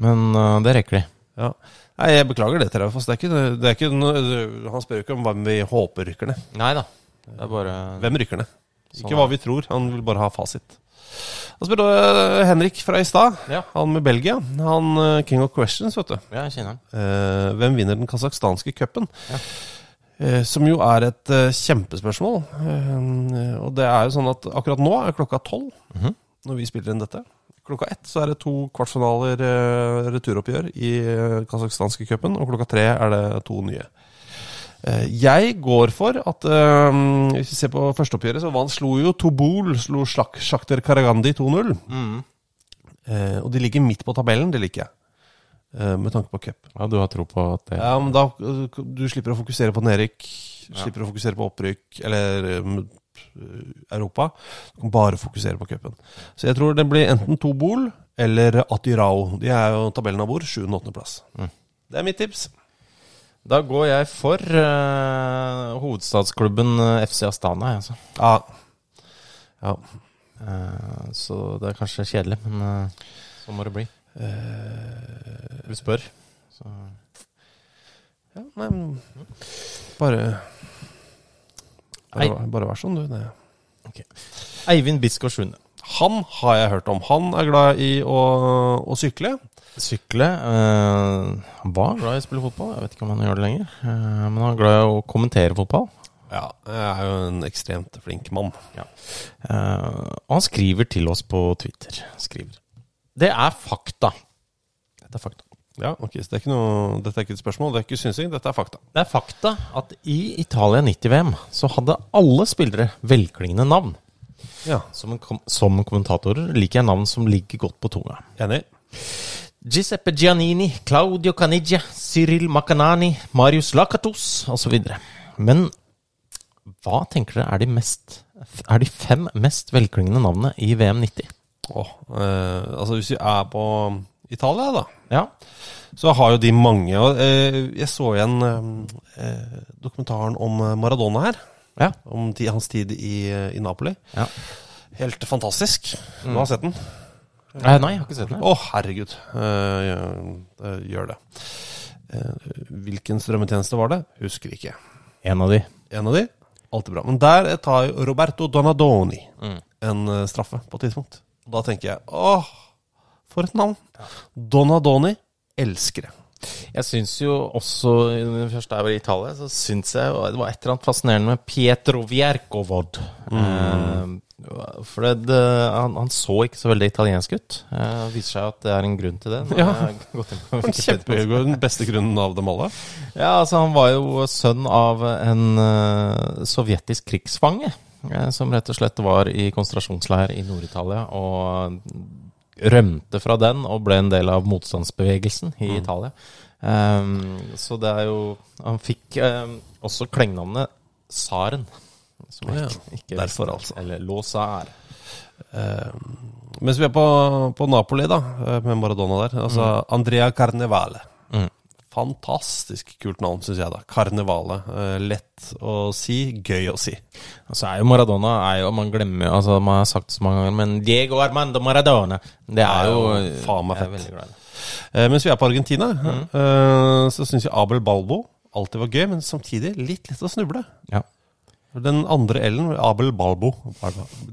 Men eh, det rekker de. Ja. Nei, jeg beklager det til deg, Foss. Det er ikke, det er ikke noe, han spør jo ikke om hvem vi håper rykker ned. Nei da. Det er bare Hvem rykker ned? Sånn Ikke er hva vi det. tror. Han vil bare ha fasit. Da spør eh, Henrik fra i stad, Ja. han med Belgia. Han eh, king of questions, vet du. Ja, jeg kjenner den. Eh, hvem vinner den kasakhstanske cupen? Eh, som jo er et eh, kjempespørsmål. Eh, og det er jo sånn at akkurat nå er klokka tolv når vi spiller inn dette. Klokka ett så er det to kvartfinaler eh, returoppgjør i eh, kasakhstanske cupen, og klokka tre er det to nye. Eh, Jeg går for at eh, Hvis vi ser på førsteoppgjøret, så vant, slo jo Tobol slo Slak, Shakhtar Karagandi 2-0. Eh, og de ligger midt på tabellen, det liker jeg. Eh, med tanke på cup. Ja, du har tro på at det Ja, men da Du slipper å fokusere på nedrykk. Slipper å fokusere på opprykk eller um, Europa. Du kan bare fokusere på cupen. Så jeg tror det blir enten Tobol eller Atirao. De er jo tabellen av bord. 7.- og 8.-plass. Det er mitt tips. Da går jeg for eh, hovedstadsklubben eh, FC Astana, jeg, altså. Ja. ja. Eh, så det er kanskje kjedelig, men eh, sånn må det bli. Eh, du spør. Så. Ja, nei, men bare Bare, bare vær sånn, du. Det. Eivind Biskårs Sunde. Han har jeg hørt om. Han er glad i å, å sykle. Sykle eh, Han var glad i å spille fotball, jeg vet ikke om han gjør det lenger. eh, men han er glad i å kommentere fotball. Ja, jeg er jo en ekstremt flink mann. Eh, og han skriver til oss på Twitter. Skriver. Det er fakta. Dette er fakta. Ja, ok, så det er ikke noe, Dette er ikke et spørsmål, det er ikke synsing, dette er fakta. Det er fakta at i Italia 90-VM så hadde alle spillere velklingende navn. Ja. Som, en kom som kommentatorer liker jeg navn som ligger godt på tunga. Enig. Giuseppe Giannini, Claudio Caniggia, Cyril Macanani, Marius Lakatos osv. Men hva tenker dere er de, mest, er de fem mest velklingende navnene i VM 90? Åh, eh, altså Hvis vi er på Italia, da, Ja. så har jo de mange. Og, eh, jeg så igjen eh, eh, dokumentaren om Maradona her. Ja. Om ti, hans tid i, eh, i Napoli. Ja. Helt fantastisk. Du Mm. har sett den? Eh, nei, jeg har ikke sett den. Å, herregud. Eh, gjør- eh, gjør det. Eh, hvilken strømmetjeneste var det? Husker ikke. En av de. En av de. Alltid bra. Men der tar jo Roberto Donadoni Mm. en eh, straffe på et tidspunkt. Og Da tenker jeg åh, for et navn! Donadoni. Elsker det. Jeg syns jo også, når jeg først er i Italia, så syns jeg det var et eller annet fascinerende med Pietro Viercovod. Mm. Eh, for det, det, han, han så ikke så veldig italiensk ut. Eh, det viser seg at det er en grunn til det. Nå Ja. har jeg gått inn på Wikipedia. Kjempegod. Den beste grunnen av dem alle. Ja, altså Han var jo sønn av en eh, sovjetisk krigsfange. eh, som rett og slett var i konsentrasjonsleir i Nord-Italia. Og rømte fra den og ble en del av motstandsbevegelsen Mm. i Italia. Ehm, så det er jo Han fikk eh, også klengenavnet Tsaren. Som Å ja, ikke, ikke derfor altså. Eller Låsær. Eh, mens vi er på, på Napoli, da, eh, med Maradona der. Altså Andrea Carnevale. Mm. Fantastisk kult navn, syns jeg. da Carnevale. Eh, lett å si, gøy å si. Altså er jo Maradona er jo, Man glemmer jo altså Man har sagt det så mange ganger, men Diego Armando Maradona Det er jo faen meg jeg er fett. veldig glad i det. Eh, mens vi er på Argentina, eh, så syns jeg Abel Balbo alltid var gøy, men samtidig litt lett å snuble. Ja. For Den andre L-en, Abel Balbo,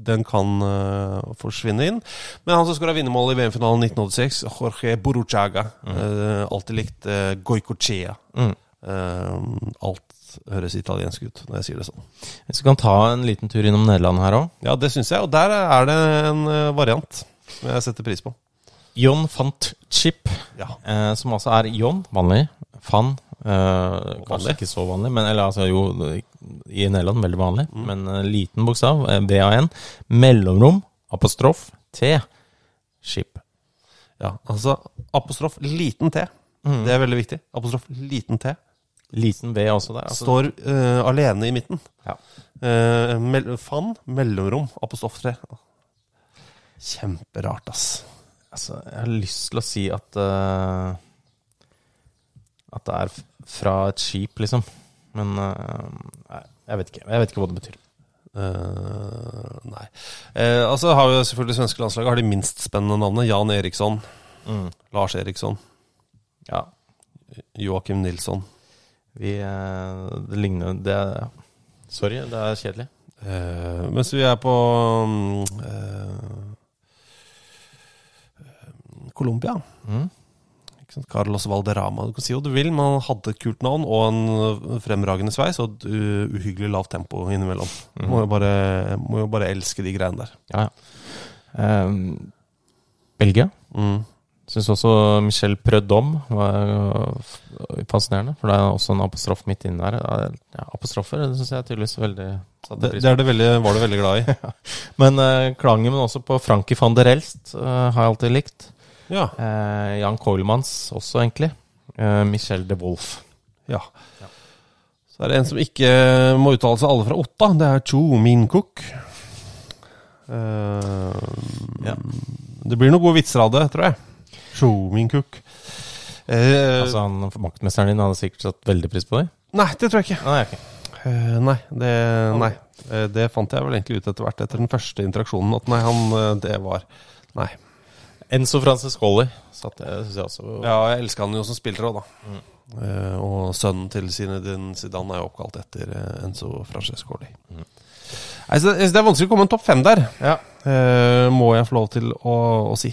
den kan eh, forsvinne inn. Men han som skåra vinnermålet i VM-finalen 1986, Jorge Boruchaga, eh, alltid likt eh, Goicochea. Mm. Eh, alt høres italiensk ut når jeg sier det sånn. Hvis vi kan ta en liten tur innom Nederland her òg. Ja, det syns jeg, og der er det en eh, variant som jeg setter pris på. John van T- Chip, Ja. eh, som altså er John, vanlig. Van, eh, vanlig. kanskje ikke så vanlig, men eller altså jo i Nederland veldig vanlig. Mm. Men eh, liten bokstav, eh, VAN. Mellomrom, apostrof, T. Chip. Ja, altså apostrof liten t. Det er veldig viktig. Apostrof liten t. Liten V også der. Altså. Står eh, alene i midten. Ja. Eh, mel fan, mellomrom, apostrof 3. Kjemperart, ass. Altså, jeg har lyst til å si at eh, At det er f- fra et skip, liksom. Men eh, nei, jeg vet ikke. Jeg vet ikke hva det betyr. Eh, nei. Eh, altså har jo selvfølgelig svenske landslaget har de minst spennende navnene. Jan Eriksson, Mm. Lars Eriksson, Ja, Joakim Nilsson. Vi, eh, det ligner det, er- ja. Sorry, det er kjedelig. Eh, mens vi er på mm, eh, eh, Colombia. Mm. Ikke sant? Carlos Valderrama. Du kan si hva du vil, men han hadde et kult navn og en eh, fremragende sveis og et uh, uhyggelig lavt tempo innimellom. Mm. Må, jo bare, må jo bare elske de greiene der. Mhm. Ja, ja. Ehm, Belgia. Mm. Syns også Michel Prødom var eh, fascinerende. For det er også en apostrof midt inni der. Ja, apostrofer det syns jeg er tydeligvis veldig satte Det, pris det på. er det veldig, var du veldig glad i. Men eh, klangen, men også på Frankie van der Elst, eh, har jeg alltid likt. ja. Eh, Jan Coilmans også, egentlig. Eh, Michel de Wolf. ja. Så er det en som ikke eh, må uttale seg alle fra Otta. Det er Cho Min Cook. Eh, Det blir noen gode vitser av det, tror jeg. Cho Min Cook. Eh, altså, han, Maktmesteren din hadde sikkert satt veldig pris på det. Nei, det tror jeg ikke. Nei, ok. Eh, nei, det, nei. Eh, det fant jeg vel egentlig ut etter hvert, etter den første interaksjonen, at nei, han eh, Det var Nei. Enzo Francescoli satt det, synes jeg også. Ja, jeg elska han jo som spiller òg, da. Eh, og sønnen til Zinedine Zidane er jo oppkalt etter eh, Enzo Francescoli. Nei, så Jeg synes det er vanskelig å komme en topp fem der, eh, må jeg få lov til å, å si.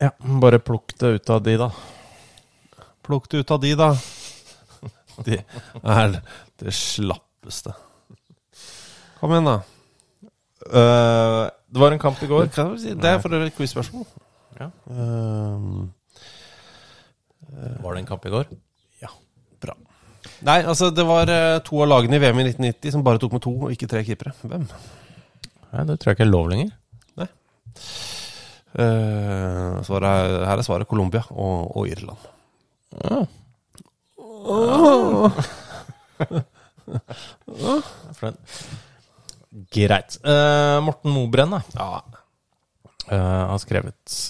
Ja, bare plukk det ut av de, da. Plukk det ut av de, da. De er det slappeste. Kom igjen, da. Eh, det var en kamp i går. Det kan jeg vel si. Det er for øvrig et quiz-spørsmål. Ja. Ehm, Var det en kamp i går? ja, bra. Nei, altså, det var eh, to av lagene i VM i 1990 som bare tok med to, og ikke tre keepere. Hvem? Nei, det tror jeg ikke er lov lenger. Eh, svaret er, her er svaret Colombia og, og Irland. Ja. For den. Greit. Eh, Morten Mobrenn, da. Eh, har skrevet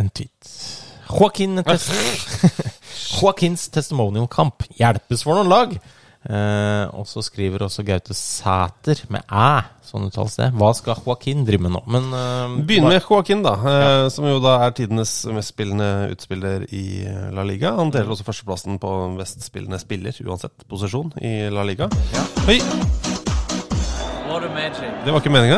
en tweet. Joaquin tes Joaquins testimonial-kamp hjelpes for noen lag. Eh, og så skriver også Gaute Sæter med æ, sånn uttales det. Hva skal Joaquin drive med nå? Men eh, Begynn med Joaquin, da, eh, som jo da er tidenes mest spillende utspiller i eh, La Liga. Han deler også førsteplassen på mest spillende spiller, uansett posisjon, i La Liga. Oi! Det var ikke meninga.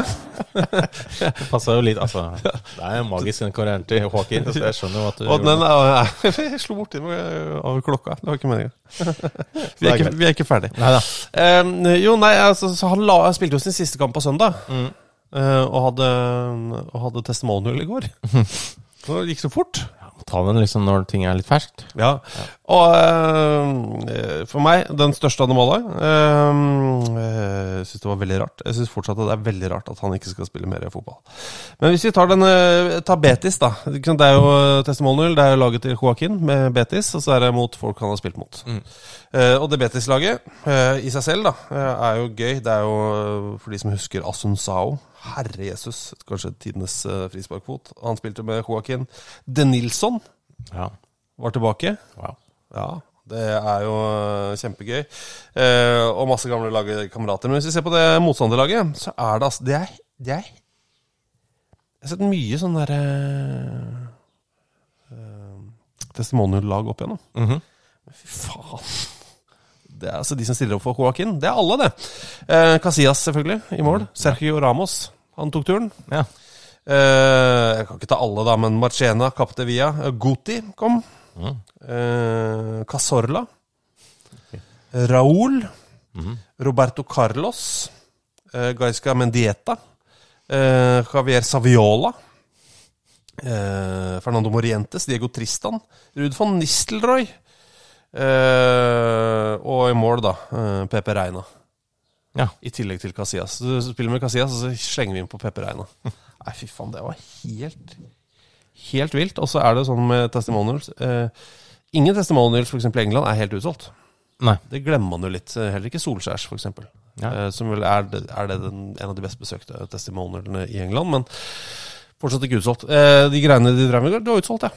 Det passer jo litt, altså. Det er jo magisk den karrieren til Joaquin. Så jeg skjønner jo at du Og den er, jeg slo borti med av klokka. Det var ikke meninga. Vi er ikke, vi er ikke ferdig. Neida. Em, jo, nei, altså, så han la, spilte jo sin siste kamp på søndag. eh, og hadde, og hadde testimonial i går. Så det gikk så fort. Ta den liksom når ting er litt ferskt. Ja. Og eh, for meg, den største anomalen eh, Jeg syns det var veldig rart. Jeg syns fortsatt at det er veldig rart at han ikke skal spille mer fotball. Men hvis vi tar den eh, tar Betis, da. Ikke sant, Det er jo eh, testimonial. Det er jo laget til Joaquin med Betis, og så er det mot folk han har spilt mot. Eh, og det Betis-laget eh, i seg selv da, eh, er jo gøy. Det er jo eh, for de som husker Asunsao. Herre Jesus, kanskje tidenes eh, frisparkfot. Han spilte med Joaquin. De Nilsson Ja. var tilbake. Wow. Ja, det er jo øh, kjempegøy. Eh, og masse gamle lagkamerater. Men hvis vi ser på det motstanderlaget, så er det altså Det er, det er Jeg har sett mye sånn derre uh, Testimonial-lag opp igjennom. Men Fy faen. Det er altså de som stiller opp for Joaquin. Det er alle, det. Eh, Casillas, selvfølgelig, i mål. Sergio Ramos, han tok turen. Ja. Eh, jeg kan ikke ta alle, da, men Marcena, Captevia, Guti kom. Eh, Casorla. Raúl. Roberto Carlos. Eh, Gaisca Mendieta. Eh, Javier Saviola. Eh, Fernando Morientes. Diego Tristan. Ruud van Nistelrooy. Eh, og i mål, da, eh, Pepe Reina. Ja. I tillegg til Casillas. Så du spiller med Casillas, og så slenger vi inn på Pepe Reina. Nei, fy faen, det var helt Helt vilt. Og så er det sånn med testimonials eh, Ingen testimonials for eksempel i England er helt utsolgt. Nei. Det glemmer man jo litt. Eh, Heller ikke Solskjærs, f.eks. eksempel Ja. Eh, som vel er, det- er det den, en av de best besøkte testimonialene i England, men fortsatt ikke utsolgt. Eh, de greiene de drev med i går, det var utsolgt, ja.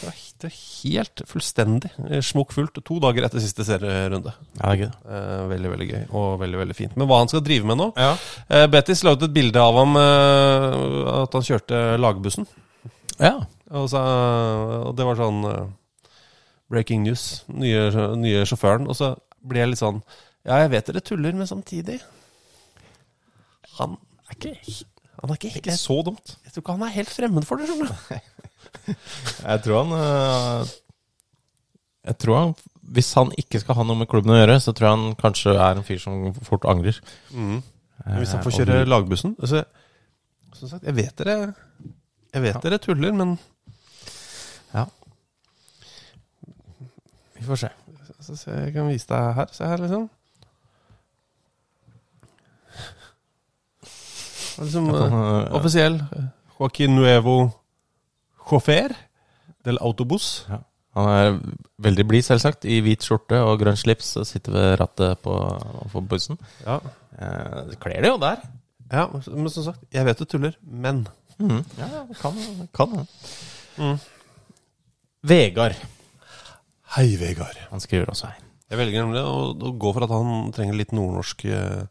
Det var, det var helt fullstendig eh, smokkfullt to dager etter siste serierunde. Ja, det er gøy. Eh, veldig, veldig gøy, og veldig, veldig fint. Men hva han skal drive med nå? Ja. Eh, Betis la ut et bilde av ham eh, at han kjørte lagbussen. ja. Og, så, og det var sånn eh, breaking news. Nye, nye sjåføren. Og så ble jeg litt sånn Ja, jeg vet dere tuller, men samtidig Han er ikke Han er ikke helt Så dumt. Jeg tror ikke han er helt fremmed for det, skjønner du. Jeg tror han øh, Jeg tror han Hvis han ikke skal ha noe med klubben å gjøre, så tror jeg han kanskje er en fyr som fort angrer. Men Hvis han Eh, får og kjøre du- lagbussen altså, Som sagt, jeg vet dere Jeg vet dere tuller, men Ja. Vi får se. så, så Jeg kan vise deg her. Se her, liksom. Det var liksom eh, Han, øh, Offisiell. Joaquin Nuevo Chofer del Autobus. Ja. Han er veldig blid, selvsagt, i hvit skjorte og grønn slips og sitter ved rattet på, på bussen. Ja. Eh, det kler det jo der. Ja, men som sagt, jeg vet du tuller, men Mhm. Ja, ja, det kan det kan det. Mm. Vegard. Hei, Vegard. Han skriver også her. Jeg velger nemlig å, å gå for at han trenger litt nordnorsk eh,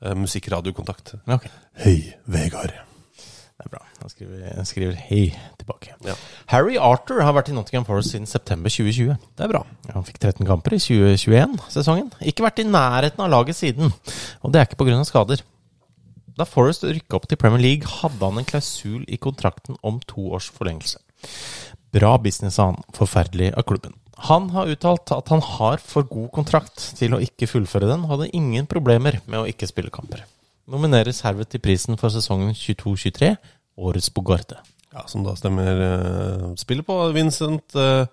eh, musikkradiokontakt. Ok. Hei, Vegard. Det er bra. Han skriver, han skriver hei tilbake. Ja. Harry Arthur har vært i Nottingham Forest siden september 2020. Det er bra. Ja, Han fikk 13 kamper i 2021-sesongen. Ikke vært i nærheten av laget siden, og det er ikke pga. skader. Da Forest rykka opp til Premier League, hadde han en klausul i kontrakten om to års forlengelse. Bra business av han, forferdelig av klubben. Han har uttalt at han har for god kontrakt til å ikke fullføre den, og hadde ingen problemer med å ikke spille kamper. Nomineres herved til prisen for sesongen 22-23, årets Bogarde. Ja, Som da stemmer eh, spillet på Vincent eh,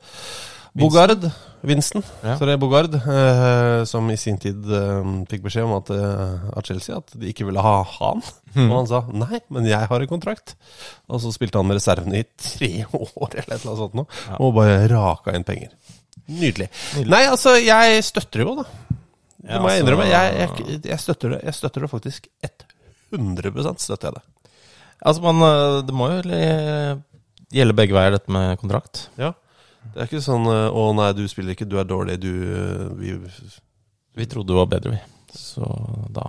Bogard. Vincent. Ja. Sorry, Bogard. eh, som i sin tid eh, fikk beskjed om at, eh, av Chelsea at de ikke ville ha han. Hmm. Og han sa nei, men jeg har en kontrakt. Og så spilte han med reservene i tre år eller et eller annet sånt nå, og bare raka inn penger. Nydelig. Nei, altså, jeg støtter det jo, da. Det Ja, må jeg altså- innrømme. Jeg, jeg, jeg, støtter det. jeg støtter det faktisk 100 støtter jeg det. Altså, man, øh, det må jo le- gjelde begge veier, dette med kontrakt. Ja. Det er ikke sånn eh, 'Å nei, du spiller ikke, du er dårlig, du eh, Vi Vi trodde det var bedre, vi. Så da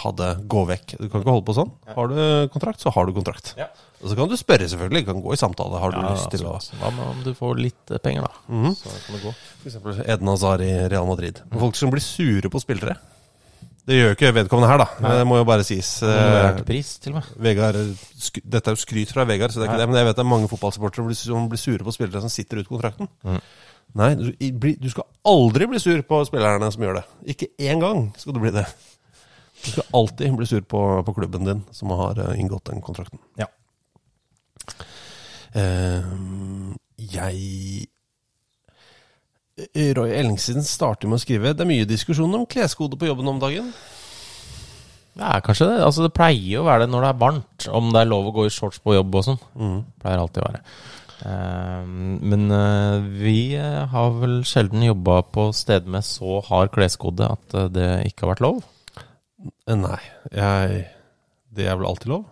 hadde Gå vekk. Du kan ikke holde på sånn. Har du kontrakt, så har du kontrakt. Ja. Og så kan du spørre, selvfølgelig. Du kan gå i samtale. Har du Ja, lyst til å altså, Hva med om du får litt eh, penger, da? Mhm. Så kan det gå. Mhm. F.eks. Eden Hazar i Real Madrid. Folk som blir sure på spillere. Det gjør jo ikke vedkommende her, da. Men det må jo bare sies. eh, Honorert pris, til og med. Vegard, sk Dette er jo skryt fra Vegard, så det er ikke Ja. det. Men jeg vet det er mange fotballsupportere som blir- som blir sure på spillere som sitter ute kontrakten. Mhm. Nei, du, i- bli, du skal aldri bli sur på spillerne som gjør det. Ikke én gang skal du bli det. Du skal alltid bli sur på, på klubben din som har eh, inngått den kontrakten. Ja. Eh, jeg eh, Roy Ellingsen starter med å skrive Det er mye diskusjon om kleskode på jobben om dagen. Det er kanskje det. Altså, det pleier jo å være det når det er varmt, om det er lov å gå i shorts på jobb og sånn. Pleier alltid å være. Eh, Men eh, vi eh, har vel sjelden jobba på steder med så hard kleskode at eh, det ikke har vært lov, Eh, Nei, jeg, det er vel alltid lov?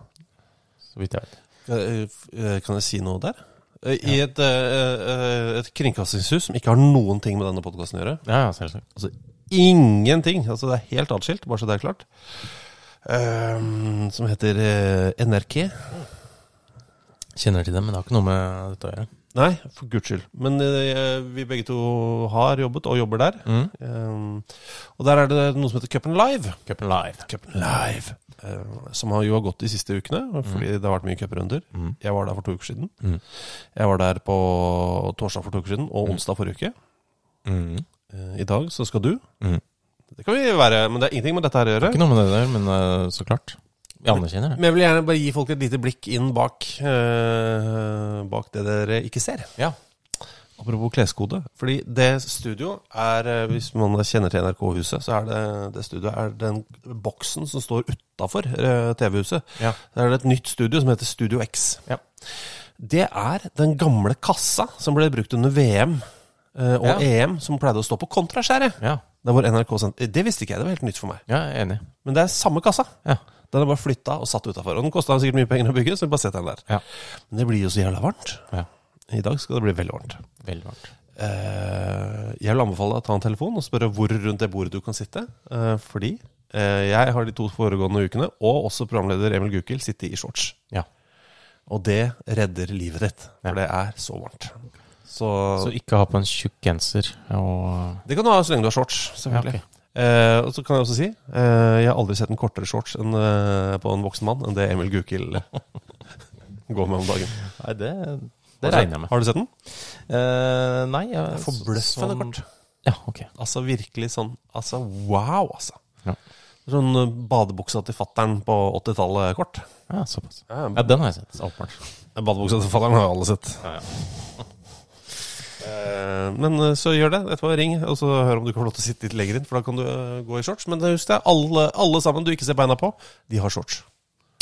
så vidt jeg vet. Eh, f- eh, Kan jeg si noe der? Eh, I et, eh, eh, et kringkastingshus som ikke har noen ting med denne podkasten å gjøre. Ja, ja, selvsagt. Altså ingenting! Altså Det er helt atskilt, bare så det er klart. Eh, som heter eh, NRK. Kjenner til det, men det har ikke noe med dette å gjøre. Nei, for guds skyld. Men eh, vi begge to har jobbet, og jobber der. Mm. Eh, og der er det noe som heter Cupen Live. Cupen live. Cupen Live. eh, som har jo har gått de siste ukene, fordi det har vært mye cuprunder. Jeg var der for to uker siden. Mm. Jeg var der på torsdag for to uker siden, og onsdag forrige uke. Mm. Eh, I dag så skal du. Mm. Det kan vi være, men det er ingenting med dette her å gjøre. Ikke noe med det der, men eh, så klart. Vi anerkjenner det. Men jeg vil gjerne bare gi folk et lite blikk inn bak, eh, bak det dere ikke ser. Ja. Apropos kleskode. Fordi det studio er, eh, hvis man kjenner til NRK-huset, så er det, det studioet er den boksen som står utafor eh, TV-huset. Ja. Der er det et nytt studio som heter Studio X. Ja. Det er den gamle kassa som ble brukt under VM eh, og Ja. EM, som pleide å stå på kontraskjæret. Ja, Der hvor NRK sendte Det visste ikke jeg, det var helt nytt for meg. jeg er enig. Men det er samme kassa. Ja. Den er bare flytta og satt utafor. Og den kosta sikkert mye penger å bygge, så vi bare setter den der. Ja. Men det blir jo så jævla varmt. Ja. I dag skal det bli veldig varmt. Veldig varmt. Eh, jeg vil anbefale deg å ta en telefon og spørre hvor rundt det bordet du kan sitte. eh, fordi eh, jeg har de to foregående ukene, og også programleder Emil Gukild, sittet i shorts. Ja. Og det redder livet ditt, Ja. for det er så varmt. Så, Så ikke ha på en tjukk genser og det kan du ha så lenge du har shorts, selvfølgelig. Ja, Eh, og så kan jeg også si eh, Jeg har aldri sett en kortere shorts enn, eh, på en voksen mann enn det Emil Gukild går med om dagen. Nei, det, Har du- Har du sett den? Eh, nei, jeg Det er forbløffende sånn- kort. Ja, ok. Altså virkelig sånn Altså wow, altså. Ja. Sånn eh, badebuksa til fattern på 80-tallet kort. Ja, såpass. Ja, Ja, den har jeg sett. Åpenbart. Badebuksa til fattern har jo alle sett. Eh, Men eh, så gjør det. Etterpå ring og så hør om du kan få lov til å sitte litt lenger inn. For da kan du eh, gå i shorts. Men husk det, alle, alle sammen du ikke ser beina på, de har shorts.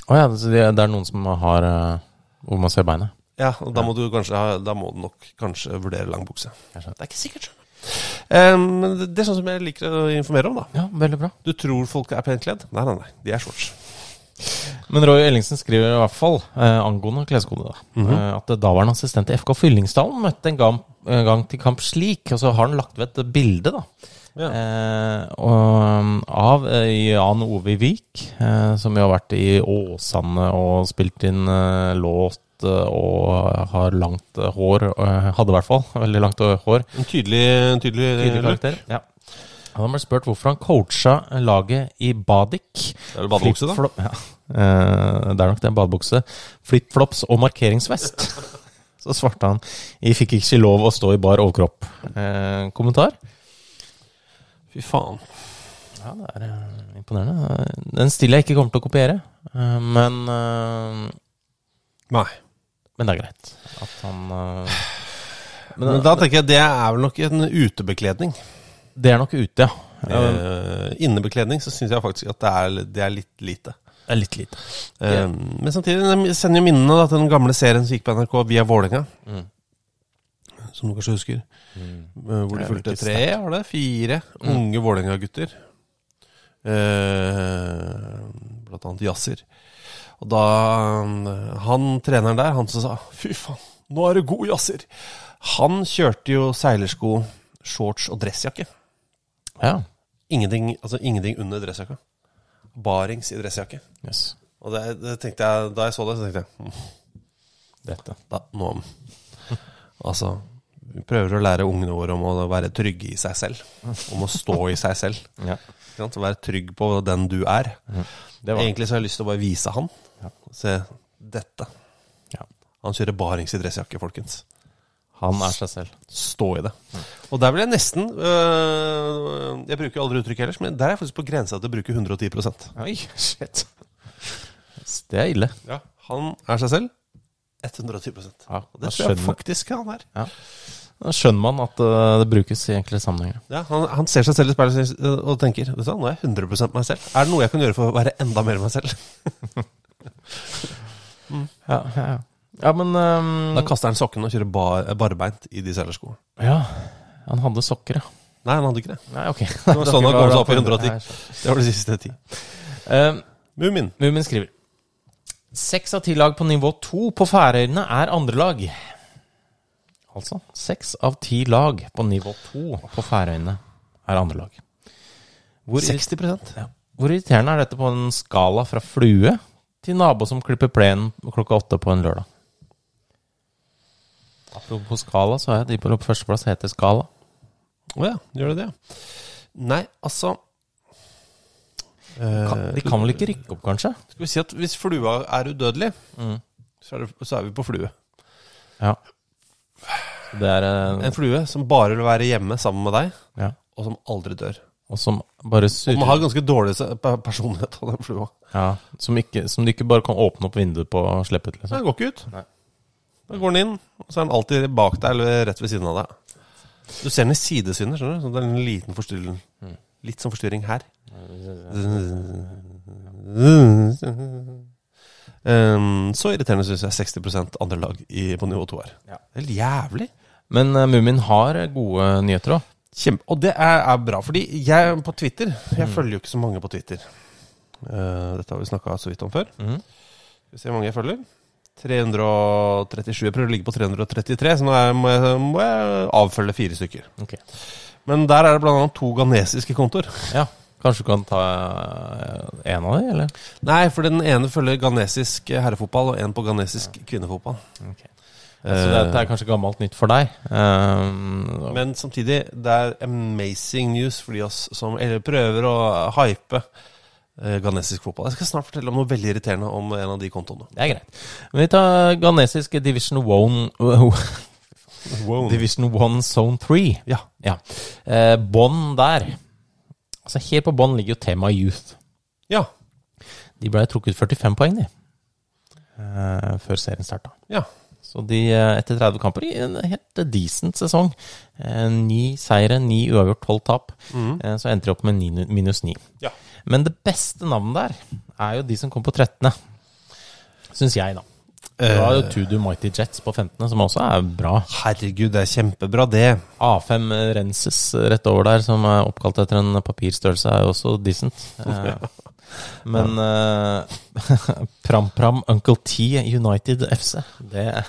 Å ja, så det, det er noen som har eh, Hvor man ser beinet. Ja, og da må du kanskje ha- Da må du nok kanskje vurdere lang bukse. Det er ikke sikkert. skjønner du. Um, men det, det er sånn som jeg liker å informere om, da. Ja, veldig bra. Du tror folk er pent kledd? Nei, nei, nei. De er shorts. Men Roy Ellingsen skriver i hvert fall eh, angående kleskode da, Mhm. eh, at daværende assistent i FK Fyllingsdalen møtte en gang, en gang til kamp slik, og så har han lagt ved et bilde da, eh, og, av eh, Jan Ove Vik, eh, som jo har vært i Åsane og spilt inn eh, låt eh, og har langt eh, hår, eh, hadde i hvert fall veldig langt eh, hår. En tydelig, en tydelig, eh, Tydelig karakter, ja. Han ble spurt hvorfor han coacha laget i Badik. Det er vel badebukse, da? Flip-flop- Ja. Eh, det er nok det. Badebukse, flipflops og markeringsvest. Så svarte han jeg fikk ikke lov å stå i bar overkropp. Eh, kommentar? Fy faen. Ja, det er eh, imponerende. Eh, Den stille jeg ikke kommer til å kopiere, eh, men eh, Nei. Men det er greit at han eh, Men, da tenker jeg det er vel nok en utebekledning. Det er nok ute, ja. Eh, innebekledning så syns jeg faktisk at det er, det er litt lite. Det er litt lite. Eh, Men samtidig de sender jo minnene da, til den gamle serien som gikk på NRK via Vålerenga. Mm. Som du kanskje husker. Eh, Hvor de Det er fulgte veldig tre, sterkt. var det? Fire Mm. unge Vålerenga-gutter. Eh, blant annet Yasser. Og da eh, Han treneren der, han som sa 'fy faen, nå er du god, Yasser', han kjørte jo seilersko, shorts og dressjakke. Ja. Ingenting, altså ingenting under dressjakka. Barings i dressjakke. Yes. Og det, det tenkte jeg, da jeg så det, så tenkte jeg "Mm, Dette. da, nå, Altså, vi prøver å lære ungene våre om å være trygge i seg selv. Om å stå i seg selv. Ja. Ikke sant? Å Være trygg på den du er. Det var- Egentlig så har jeg lyst til å bare vise han. Ja. Se dette. Ja. Han kjører barings i dressjakke, folkens. Han er seg selv. Stå i det. Og der vil jeg nesten øh, Jeg bruker jo aldri uttrykk ellers, men der er jeg faktisk på grensa til å bruke 110 Oi, shit. Det er ille. Ja, han er seg selv. 110 Ja, Og det tror da jeg skjønner- faktisk han er. Ja. Da skjønner man at eh, det brukes i enkelte sammenhenger. Ja, han, han ser seg selv i speilet og sier- og tenker Vet du, hva, nå er jeg 100 meg selv. Er det noe jeg kan gjøre for å være enda mer meg selv? Ja, ja, ja. ja men ehm, Da kaster han sokkene og kjører bar, barbeint i de seilerskoene. Ja, han hadde sokker, ja. Nei, han hadde ikke det. Nei, ok. Det var sånn han kom seg opp i Ja, jeg 110. skjønner. Det var de siste ti. Ehm, Mumin. Mumin skriver Seks av ti lag på nivå to på Færøyene er andre lag. Altså seks av ti lag på nivå to på Færøyene er andre lag. Hvor, irri- 60 ja. Hvor irriterende er dette på en skala fra flue til nabo som klipper plenen klokka åtte på en lørdag? Apropos skala, så har jeg de på førsteplass heter skala. Å ja, gjør det det? ja? Nei, altså eh, Kan, de kan vel ikke rykke opp, kanskje? Skal vi si at hvis flua er udødelig, så, er det, så er vi på flue. Ja. Det er eh, En flue som bare vil være hjemme sammen med deg, ja. og som aldri dør. Og som bare Og man har surrer. ganske dårlig se- pe- personlighet av den flua. Ja, som, ikke, som du ikke bare kan åpne opp vinduet på og slippe ut, Den liksom. går ikke ut. Da går den inn, og så er den alltid bak deg eller rett ved siden av deg. Du ser den i sidesynet, skjønner du. Så det er en liten forstyrring. Litt sånn forstyrring her. Um, så irriterende syns jeg 60 andre lag i, på nivå to her. Det Ja. er helt jævlig. Men eh, Mumin har gode nyheter òg. Kjempe, og det er, er bra, fordi jeg på Twitter Mm. Jeg følger jo ikke så mange på Twitter. Eh, dette har vi snakka så vidt om før. Mm. Skal vi se hvor mange jeg følger. 337. Jeg prøver å ligge på 333, så nå er, må, jeg, må jeg avfølge fire stykker. Men der er det bl.a. to ghanesiske kontoer. Ja, kanskje du kan ta eh, en av de, eller? Nei, for den ene følger ghanesisk herrefotball, og en på ghanesisk kvinnefotball. Så dette Altså, er kanskje gammelt nytt for deg. eh, Men samtidig, det er amazing news for de oss som eller prøver å hype eh, ghanesisk fotball. Jeg skal snart fortelle om noe veldig irriterende om en av de kontoene. det er greit. Men vi tar ghanesiske Division One oh, Division One Zone 3. Ja. Ja. Eh, bånn der. Altså Helt på bånn ligger jo temaet youth. Ja. De ble trukket 45 poeng, de. Eh, før serien starta. ja. Så de, eh, etter 30 kamper, i en helt decent sesong. Eh, Ni seire, ni uavgjort, tolv tap. Eh, Så endte de opp med ni, minus ni. Ja. Men det beste navnet der er jo de som kom på 13., syns jeg, da. Det Eh. var jo Tudu Mighty Jets på 15., som også er bra. Herregud, det er kjempebra, det. A5 Renses rett over der, som er oppkalt etter en papirstørrelse, er jo også decent. Eh, Men eh, Pram Pram Uncle T United FC, det, det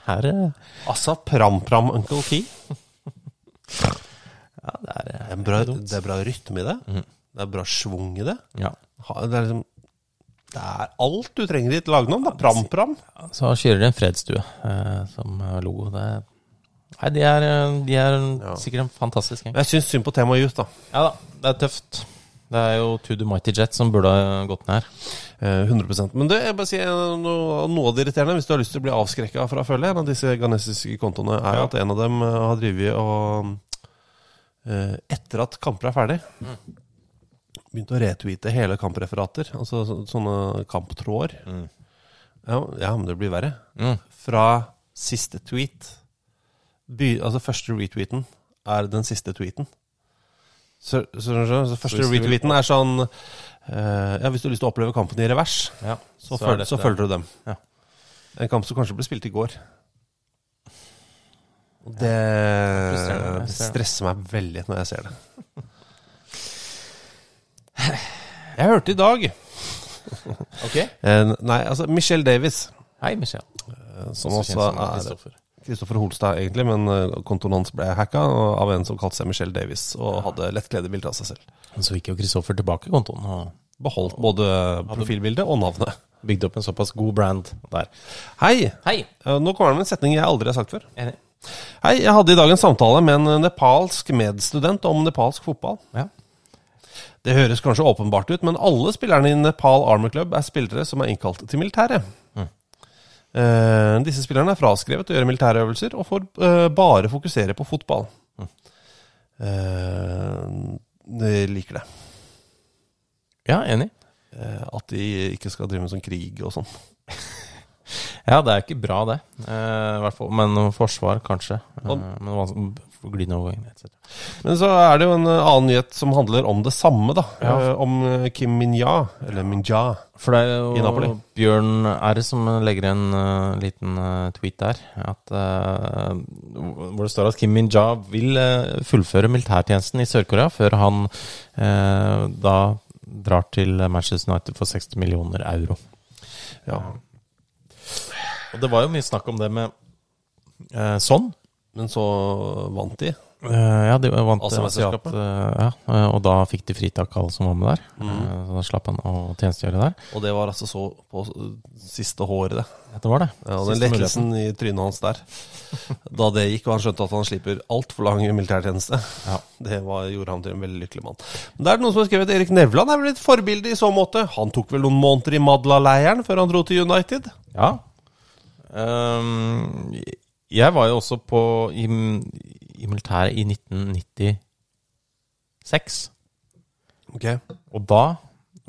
her eh, Altså, Pram Pram Uncle T. ja, det er, eh, Det er bra, Mhm. dumt. det er bra rytme i det. Det er bra schwung i det. Ja. Ha- Det er liksom Det er alt du trenger i et lagnavn, da. Pram Pram. Så kjører de en fredsstue eh, som logo. Det er, nei, de er, eh, de er sikkert en fantastisk gjeng. Jeg syns synd på temaet Youth, da. Ja da, det er tøft. Det er jo To the Mighty Jet som burde ha gått ned her. Eh, 100 Men du, jeg bare sier noe, noe av det irriterende, hvis du har lyst til å bli avskrekka fra å følge en av disse ghanesiske kontoene, er Ja. at en av dem eh, har drevet og eh, Etter at kamper er ferdig, Mm. begynt å retweete hele kampreferater. Altså så- sånne kamptråder. Ja, ja, men det blir verre. Mm. Fra siste tweet By, Altså første retweeten er den siste tweeten. Så, så, så, så, så første hvis du vil- retweeten er sånn eh, Ja, hvis du har lyst til å oppleve kampen i revers, Ja, så, så er føl, dette- så følger du dem. Ja. En kamp som kanskje ble spilt i går. Og det frustrerende, jeg ser det. stresser meg veldig når jeg ser det. Jeg hørte i dag Ok. eh, Nei, altså Michelle Davis, Hei, Michelle. eh, som Også også kjent som er Kristoffer. Kristoffer Holstad, egentlig, men eh, kontoen hans ble hacka og- av en som kalte seg Michelle Davis, og hadde lettkledde bilder av seg selv. Men så gikk jo Kristoffer tilbake i kontoen og Beholdt både profilbildet og navnet. bygde opp en såpass god brand der. Hei! Hei! Eh, Nå kommer det med en setning jeg aldri har sagt før. Enig. Hei, jeg hadde i dag en samtale med en eh, nepalsk medstudent om nepalsk fotball. Ja. Det høres kanskje åpenbart ut, men alle spillerne i Nepal Army Club er spillere som er innkalt til militæret. Eh, disse spillerne er fraskrevet å gjøre militærøvelser og får eh, bare fokusere på fotball. Eh, de liker det. ja, enig. Eh, at de ikke skal drive med sånn krig og sånn. Ja, det er ikke bra, det. Eh, i hvert fall, men noe forsvar, kanskje. Eh, men vanskelig- glidende overgang, etc. Men så er det jo en eh, annen nyhet som handler om det samme, da. Ja. Eh, om eh, Kim Minja, eller Minja. For det er I Napoli. jo Bjørn R som legger en eh, liten eh, tweet der, at, eh, hvor det står at Kim Min-ja vil eh, fullføre militærtjenesten i Sør-Korea før han eh, da drar til Manchester United for 60 millioner euro. Ja. Og det var jo mye snakk om det med eh, sånn. Men så vant de. Eh, ja, de vant Altså mesterskapet. mesterskapet? ja, eh, og da fikk de fritak alle som var med der. Mm. Eh, så da slapp han å tjenestegjøre der. Og det var altså så på eh, siste håret, det. Ja, det var det. Ja, og den Siste muligheten. lekkelsen i trynet hans der, da det gikk og han skjønte at han slipper altfor lang militærtjeneste, Ja. det var, gjorde han til en veldig lykkelig mann. Men det er noen som har skrevet Erik Nevland er vel et forbilde i så måte. Han tok vel noen måneder i Madla-leiren før han dro til United? Ja. Ehm, jeg var jo også på i, i militæret i 1996. Ok. Og da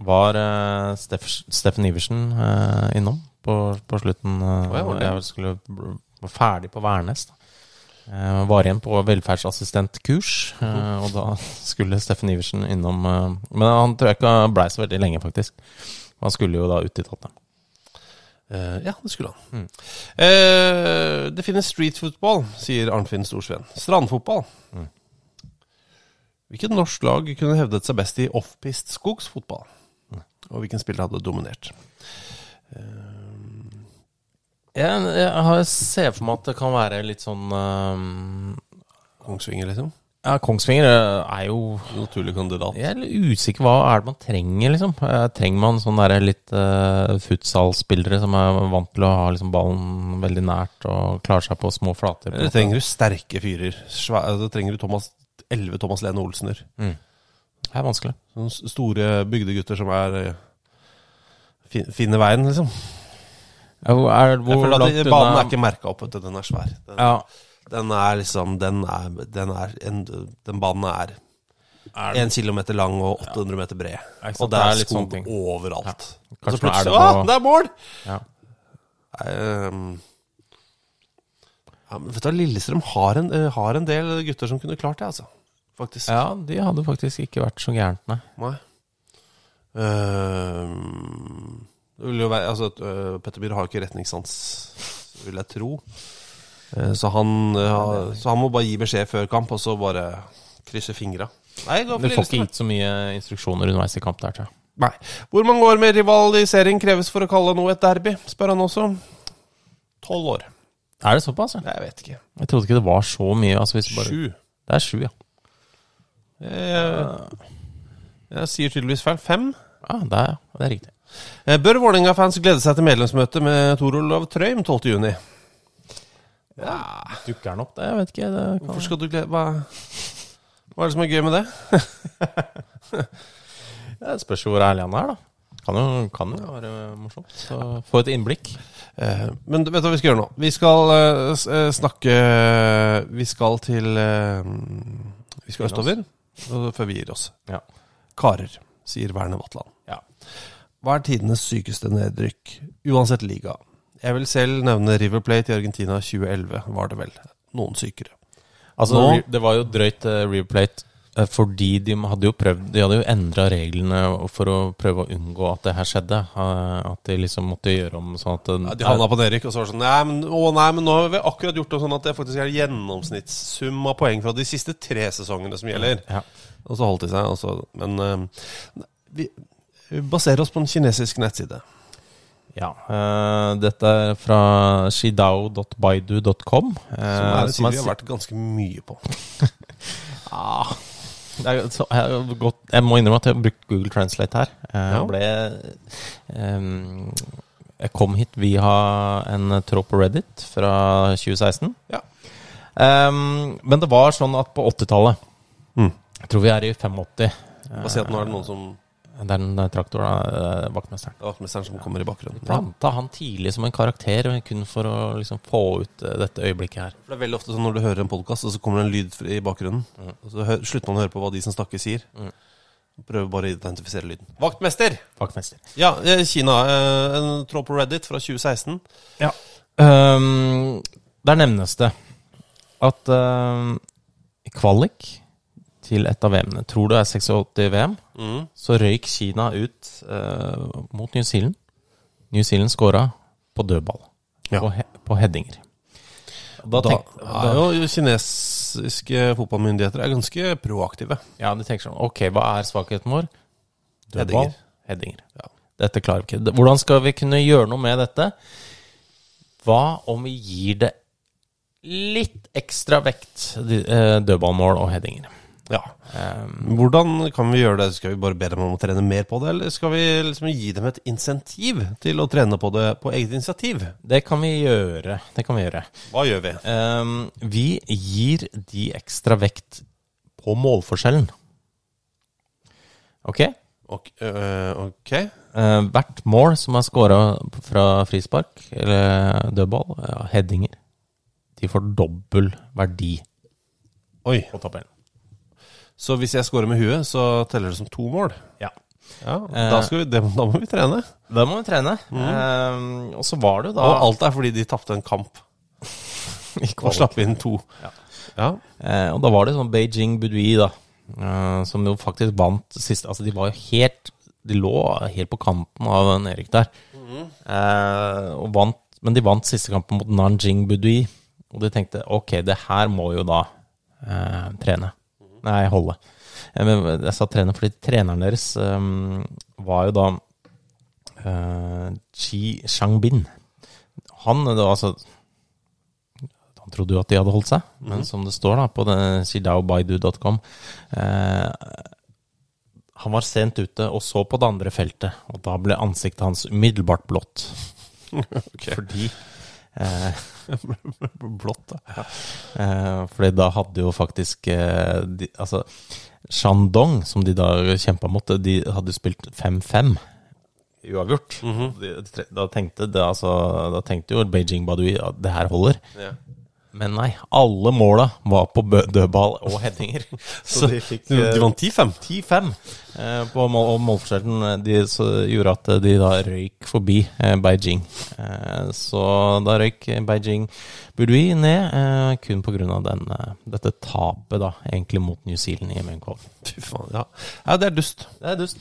var eh, Steff, Steffen Iversen eh, innom på, på slutten. Å ja, eh, var hvor det? jeg skulle bl- var ferdig på Værnes. Da. Eh, var igjen på velferdsassistentkurs, eh, Mhm. og da skulle Steffen Iversen innom eh, Men han tror jeg ikke blei så veldig lenge, faktisk. Han skulle jo da ut i Tottenham. Eh, ja, det skulle han. Eh, det finnes streetfotball, sier Arnfinn Storsveen. Strandfotball. Hvilket norsk lag kunne hevdet seg best i offpist skogsfotball? Og hvilken spiller hadde dominert? Eh, Jeg, jeg har- ser for meg at det kan være litt sånn øhm, Kongsvinger, liksom? Ja, Kongsvinger øh, er jo Naturlig kandidat. Jeg er litt usikker hva er det man trenger, liksom. Eh, Trenger man sånne der litt øh, futsalspillere som er vant til å ha liksom, ballen veldig nært og klare seg på små flater? på en Eller måte? trenger du sterke fyrer? Svæ- altså, trenger du Thomas, 11 Thomas Lene Olsener? Det er vanskelig. Sånne s- store bygdegutter som er eh, fin, finner veien, liksom. Ja, Hvor, er, Jeg hvor føler langt at Banen er unna ikke merka opp, vet du. Den er svær. Den, ja, den er liksom Den, er, den, er en, den banen er er det, én kilometer lang og 800 meter bred. ikke sant, Og det er, det er litt sånne skog ting. overalt. Ja. Og så Kanskje nå er det plutselig Å, på- det er mål! ja. Ehm, ja, men vet du, hva, Lillestrøm har en, eh, har en del gutter som kunne klart det, altså. Faktisk. ja, de hadde faktisk ikke vært så gærent, nei. Nei. Ehm, Det vil jo være, altså, øh, Petter Myhre har jo ikke retningssans, vil jeg tro. Eh, Så han, øh, har- så han må bare gi beskjed før kamp, og så bare krysse fingra. Nei, gå for Du får ikke Lillestrøm. gitt så mye instruksjoner underveis i kamp der, tror jeg. Nei. Hvor mange år med rivalisering kreves for å kalle noe et derby? spør han også. Tolv år. Er det såpass? Ja? Nei, jeg vet ikke. Jeg trodde ikke det var så mye. Altså, hvis du bare... Sju. Det er sju, ja. Jeg, jeg, jeg sier tydeligvis feil. Fem? Ja, det er, det er riktig. Eh, Bør Vålerenga-fans glede seg til medlemsmøte med Tor Olav Trøim 12.6? Dukker den opp, det? Jeg vet ikke. Det kan... Hvorfor skal du glede hva, hva er det som er gøy med det? Det spørs jo hvor ærlig han er, da. Kan jo, kan jo være morsomt. Så få et innblikk. Eh, Men vet du hva vi skal gjøre nå? Vi skal eh, s- eh, snakke Vi skal til eh, Vi skal østover og- før vi gir oss. Ja. Karer, sier Werner Vatland. Ja. Hva er tidenes sykeste nedrykk, uansett liga? Jeg vil selv nevne River Plate i Argentina 2011, var det vel. Noen sykere. Altså, Nå- re- det var jo drøyt uh, Replate fordi de hadde jo prøvd De hadde jo endra reglene for å prøve å unngå at det her skjedde. eh, at de liksom måtte gjøre om sånn at Ja, de havna på nedrykk, og så var det sånn nei men, å, nei, men nå har vi akkurat gjort det sånn at det faktisk er gjennomsnittssum av poeng fra de siste tre sesongene som gjelder. Ja. Og så holdt de seg. Og så, men eh, vi vi baserer oss på en kinesisk nettside. Ja, eh, dette er fra shidao.baidu.com. eh, Som er en som side er vi har si- vært ganske mye på. Ah, det er, jo- så, jeg, har gått, jeg må innrømme at jeg har brukt Google Translate her. Jeg, Ja. ble, em, jeg kom hit via en eh, tråd på Reddit fra 2016. Ja. Em, men det var sånn at på 80-tallet Mm. Jeg tror vi er i 85. Bare si at nå er det noen som Det er den eh, traktoren, eh, vaktmesteren. det er vaktmesteren som kommer i bakgrunnen. Planta han tidlig som en karakter, kun for å liksom få ut eh, dette øyeblikket her. For det er veldig ofte sånn når du hører en podkast, og så kommer det en lyd i bakgrunnen. Mm. Og så hø- slutter man å høre på hva de som snakker, sier. Prøver bare å identifisere lyden. Vaktmester! Vaktmester. Ja, eh, Kina. eh, En tråd på Reddit fra 2016. Ja. Ehm, der nevnes det at ehm, i kvalik til et av VM-ene, tror du det er 86-VM, så røyk Kina ut eh, mot New Zealand. New Zealand skåra på dødball, Ja. på, he på headinger. Og Da, Da tenk- er jo kinesiske fotballmyndigheter er ganske proaktive. ja, de tenker sånn Ok, hva er svakheten vår? Dødball, Headinger. headinger. Ja. Dette klarer vi ikke. Hvordan skal vi kunne gjøre noe med dette? Hva om vi gir det litt ekstra vekt, de- eh, dødballmål og headinger? Ja. Hvordan kan vi gjøre det? Skal vi bare be dem om å trene mer på det, eller skal vi liksom gi dem et insentiv til å trene på det på eget initiativ? Det kan vi gjøre. Det kan vi gjøre. Hva gjør vi? Ehm, vi gir de ekstra vekt på målforskjellen. Ok? Ok. øh, ok. Eh, hvert mål som er scora fra frispark eller dødball, ja, headinger, de får dobbel verdi Oi. på tabellen. Så hvis jeg scorer med huet, så teller det som to mål? Ja. Ja, Eh, da, skal vi, det, da må vi trene. Da må vi trene. Eh, og så var det jo da Og alt er fordi de tapte en kamp og slapp inn to. Ja. Eh, og da var det sånn Beijing Budui, da. eh, som jo faktisk vant sist. Altså, de var jo helt De lå helt på kanten av en Erik der. Eh, og vant, men de vant siste kampen mot Nanjing Budui. Og de tenkte ok, det her må jo da eh, trene. Nei, holde. Eh, men jeg sa trene fordi treneren deres eh, var jo da eh, Chi Shangbin. Han det var altså han trodde jo at de hadde holdt seg, men som det står da på denne sidaobaidu.com eh, Han var sent ute og så på det andre feltet, og da ble ansiktet hans umiddelbart blått. Fordi eh, Blått, da. eh, Fordi da hadde jo faktisk eh, de, Altså, Shandong, som de da kjempa mot, de hadde jo spilt Mhm. 5-5. Uavgjort. De- de tre- da, tenkte det, altså, da tenkte jo Beijing Badui at det her holder. Ja. Men nei, alle måla var på bø- dødball og headinger. Så de fikk eh, De, de vant 10-5. 10-5 eh, på mål, og målforskjellen. eh, De, så gjorde at eh, de da røyk forbi eh, Beijing. Eh, så da røyk Beijing Budui ned, eh, kun pga. Eh, dette tapet da, egentlig mot New Zealand i MNK. Fy faen, ja. ja, det er dust. Det er dust.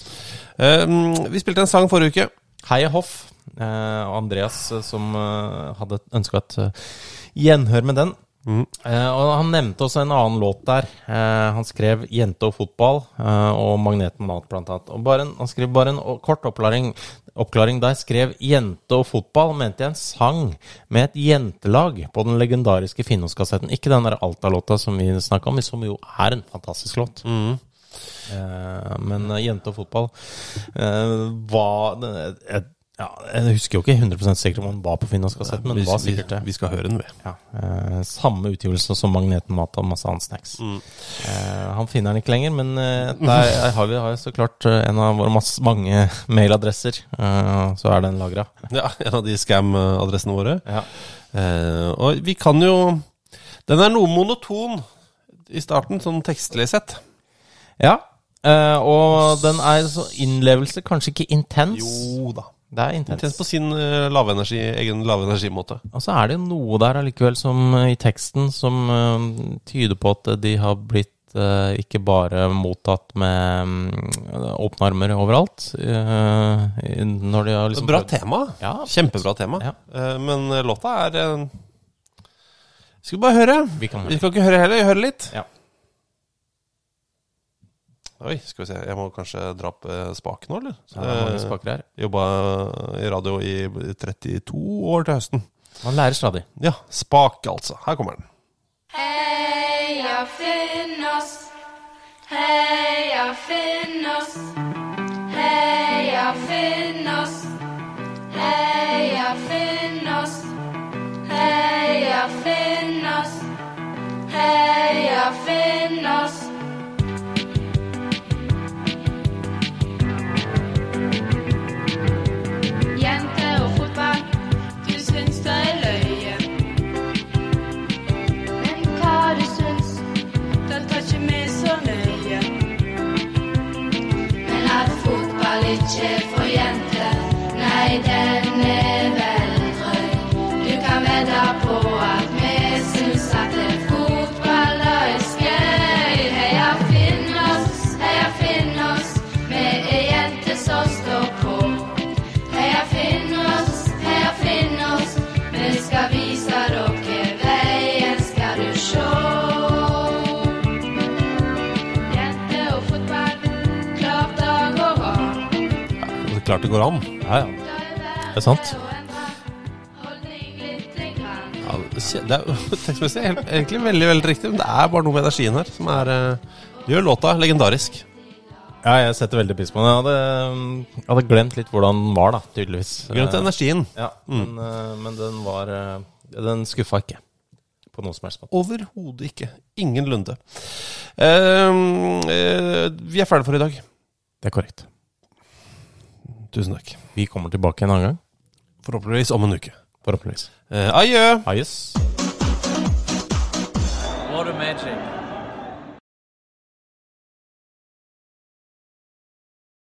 Eh, vi Ehm, spilte en sang forrige uke Heie Hoff. Eh, og Andreas, eh, som eh, hadde ønska et eh, gjenhør med den. Eh, og han nevnte også en annen låt der. Eh, han skrev 'Jente og fotball' eh, og 'Magneten mat', blant annet. Og bare en, han skrev bare en o- kort oppklaring, oppklaring der. Skrev 'Jente og fotball', mente jeg en sang med et jentelag på den legendariske Finnåskassetten. Ikke den der Alta-låta som vi snakka om, som jo er en fantastisk låt. Eh, men eh, jente og fotball eh, var jeg, ja, jeg husker jo ikke 100 sikkert om han var på Finnmarkskassetten, men Nei, det var vi- sikkert det. vi skal høre den, vi. Ja, eh, samme utgivelse som Magneten Mat og masse annen snacks. Mm. Eh, han finner den ikke lenger, men eh, der har vi har jo så klart eh, en av våre masse, mange mailadresser. eh, så er den lagra. Ja, en av de scam-adressene våre. Ja. Eh, og vi kan jo Den er noe monoton i starten, sånn tekstlig sett. Ja, eh, og den er så innlevelse, kanskje ikke intens. Jo da. Det er intens. Intens på sin eh, lavenergi, egen lavenergimåte. Og så er det noe der allikevel som eh, i teksten som eh, tyder på at de har blitt eh, ikke bare mottatt med mm, åpne armer overalt. eh, i- når de har liksom Bra prøvd- tema. Ja, Kjempebra tema. Eh, men eh, låta er eh, Skal vi bare høre? Vi kan høre. skal ikke høre heller, vi hører litt. Ja. Oi, skal vi se. Jeg må kanskje dra opp eh, spaken nå, eller? Ja, det er mange Eh, spaker her. Jobba i radio i 32 år til høsten. Man lærer stadig. Ja. Spak, altså. Her kommer den. Heia Finnås, heia Finnås, heia Finnås, heia Finnås, heia Finnås, heia Finnås. Jente og fotball, du syns det er løye. Men hva du syns, den tar ikke med så nøye. Men at fotball ikke er for jenter, nei, den er vel drøy. Du kan vedde på at vi syns at det er fotball da er skøy. Heia Finn oss, heia Finn oss, vi er jenter som står på. Heia Finn oss, heia Finn oss, vi skal vise dere veien, skal du sjå. Jente og fotball, klar dag og vår. Klart det går an. Ja, ja. Det er sant. Ja, det kje- det er jo tekstmessig helt- egentlig veldig veldig riktig, men det er bare noe med energien her som er eh, Gjør låta legendarisk. Ja, jeg setter veldig pris på den. Jeg hadde, mm, hadde glemt litt hvordan den var, da, tydeligvis. Glemt Eh, energien. Ja, men, eh, men den var eh, Den skuffa ikke på noe som helst måte. Overhodet ikke. Ingenlunde. Ehm, eh, vi er ferdige for i dag. Det er korrekt. Tusen takk. Vi kommer tilbake en annen gang. Forhåpentligvis om en uke. Forhåpentligvis. Eh, adjø! Adios.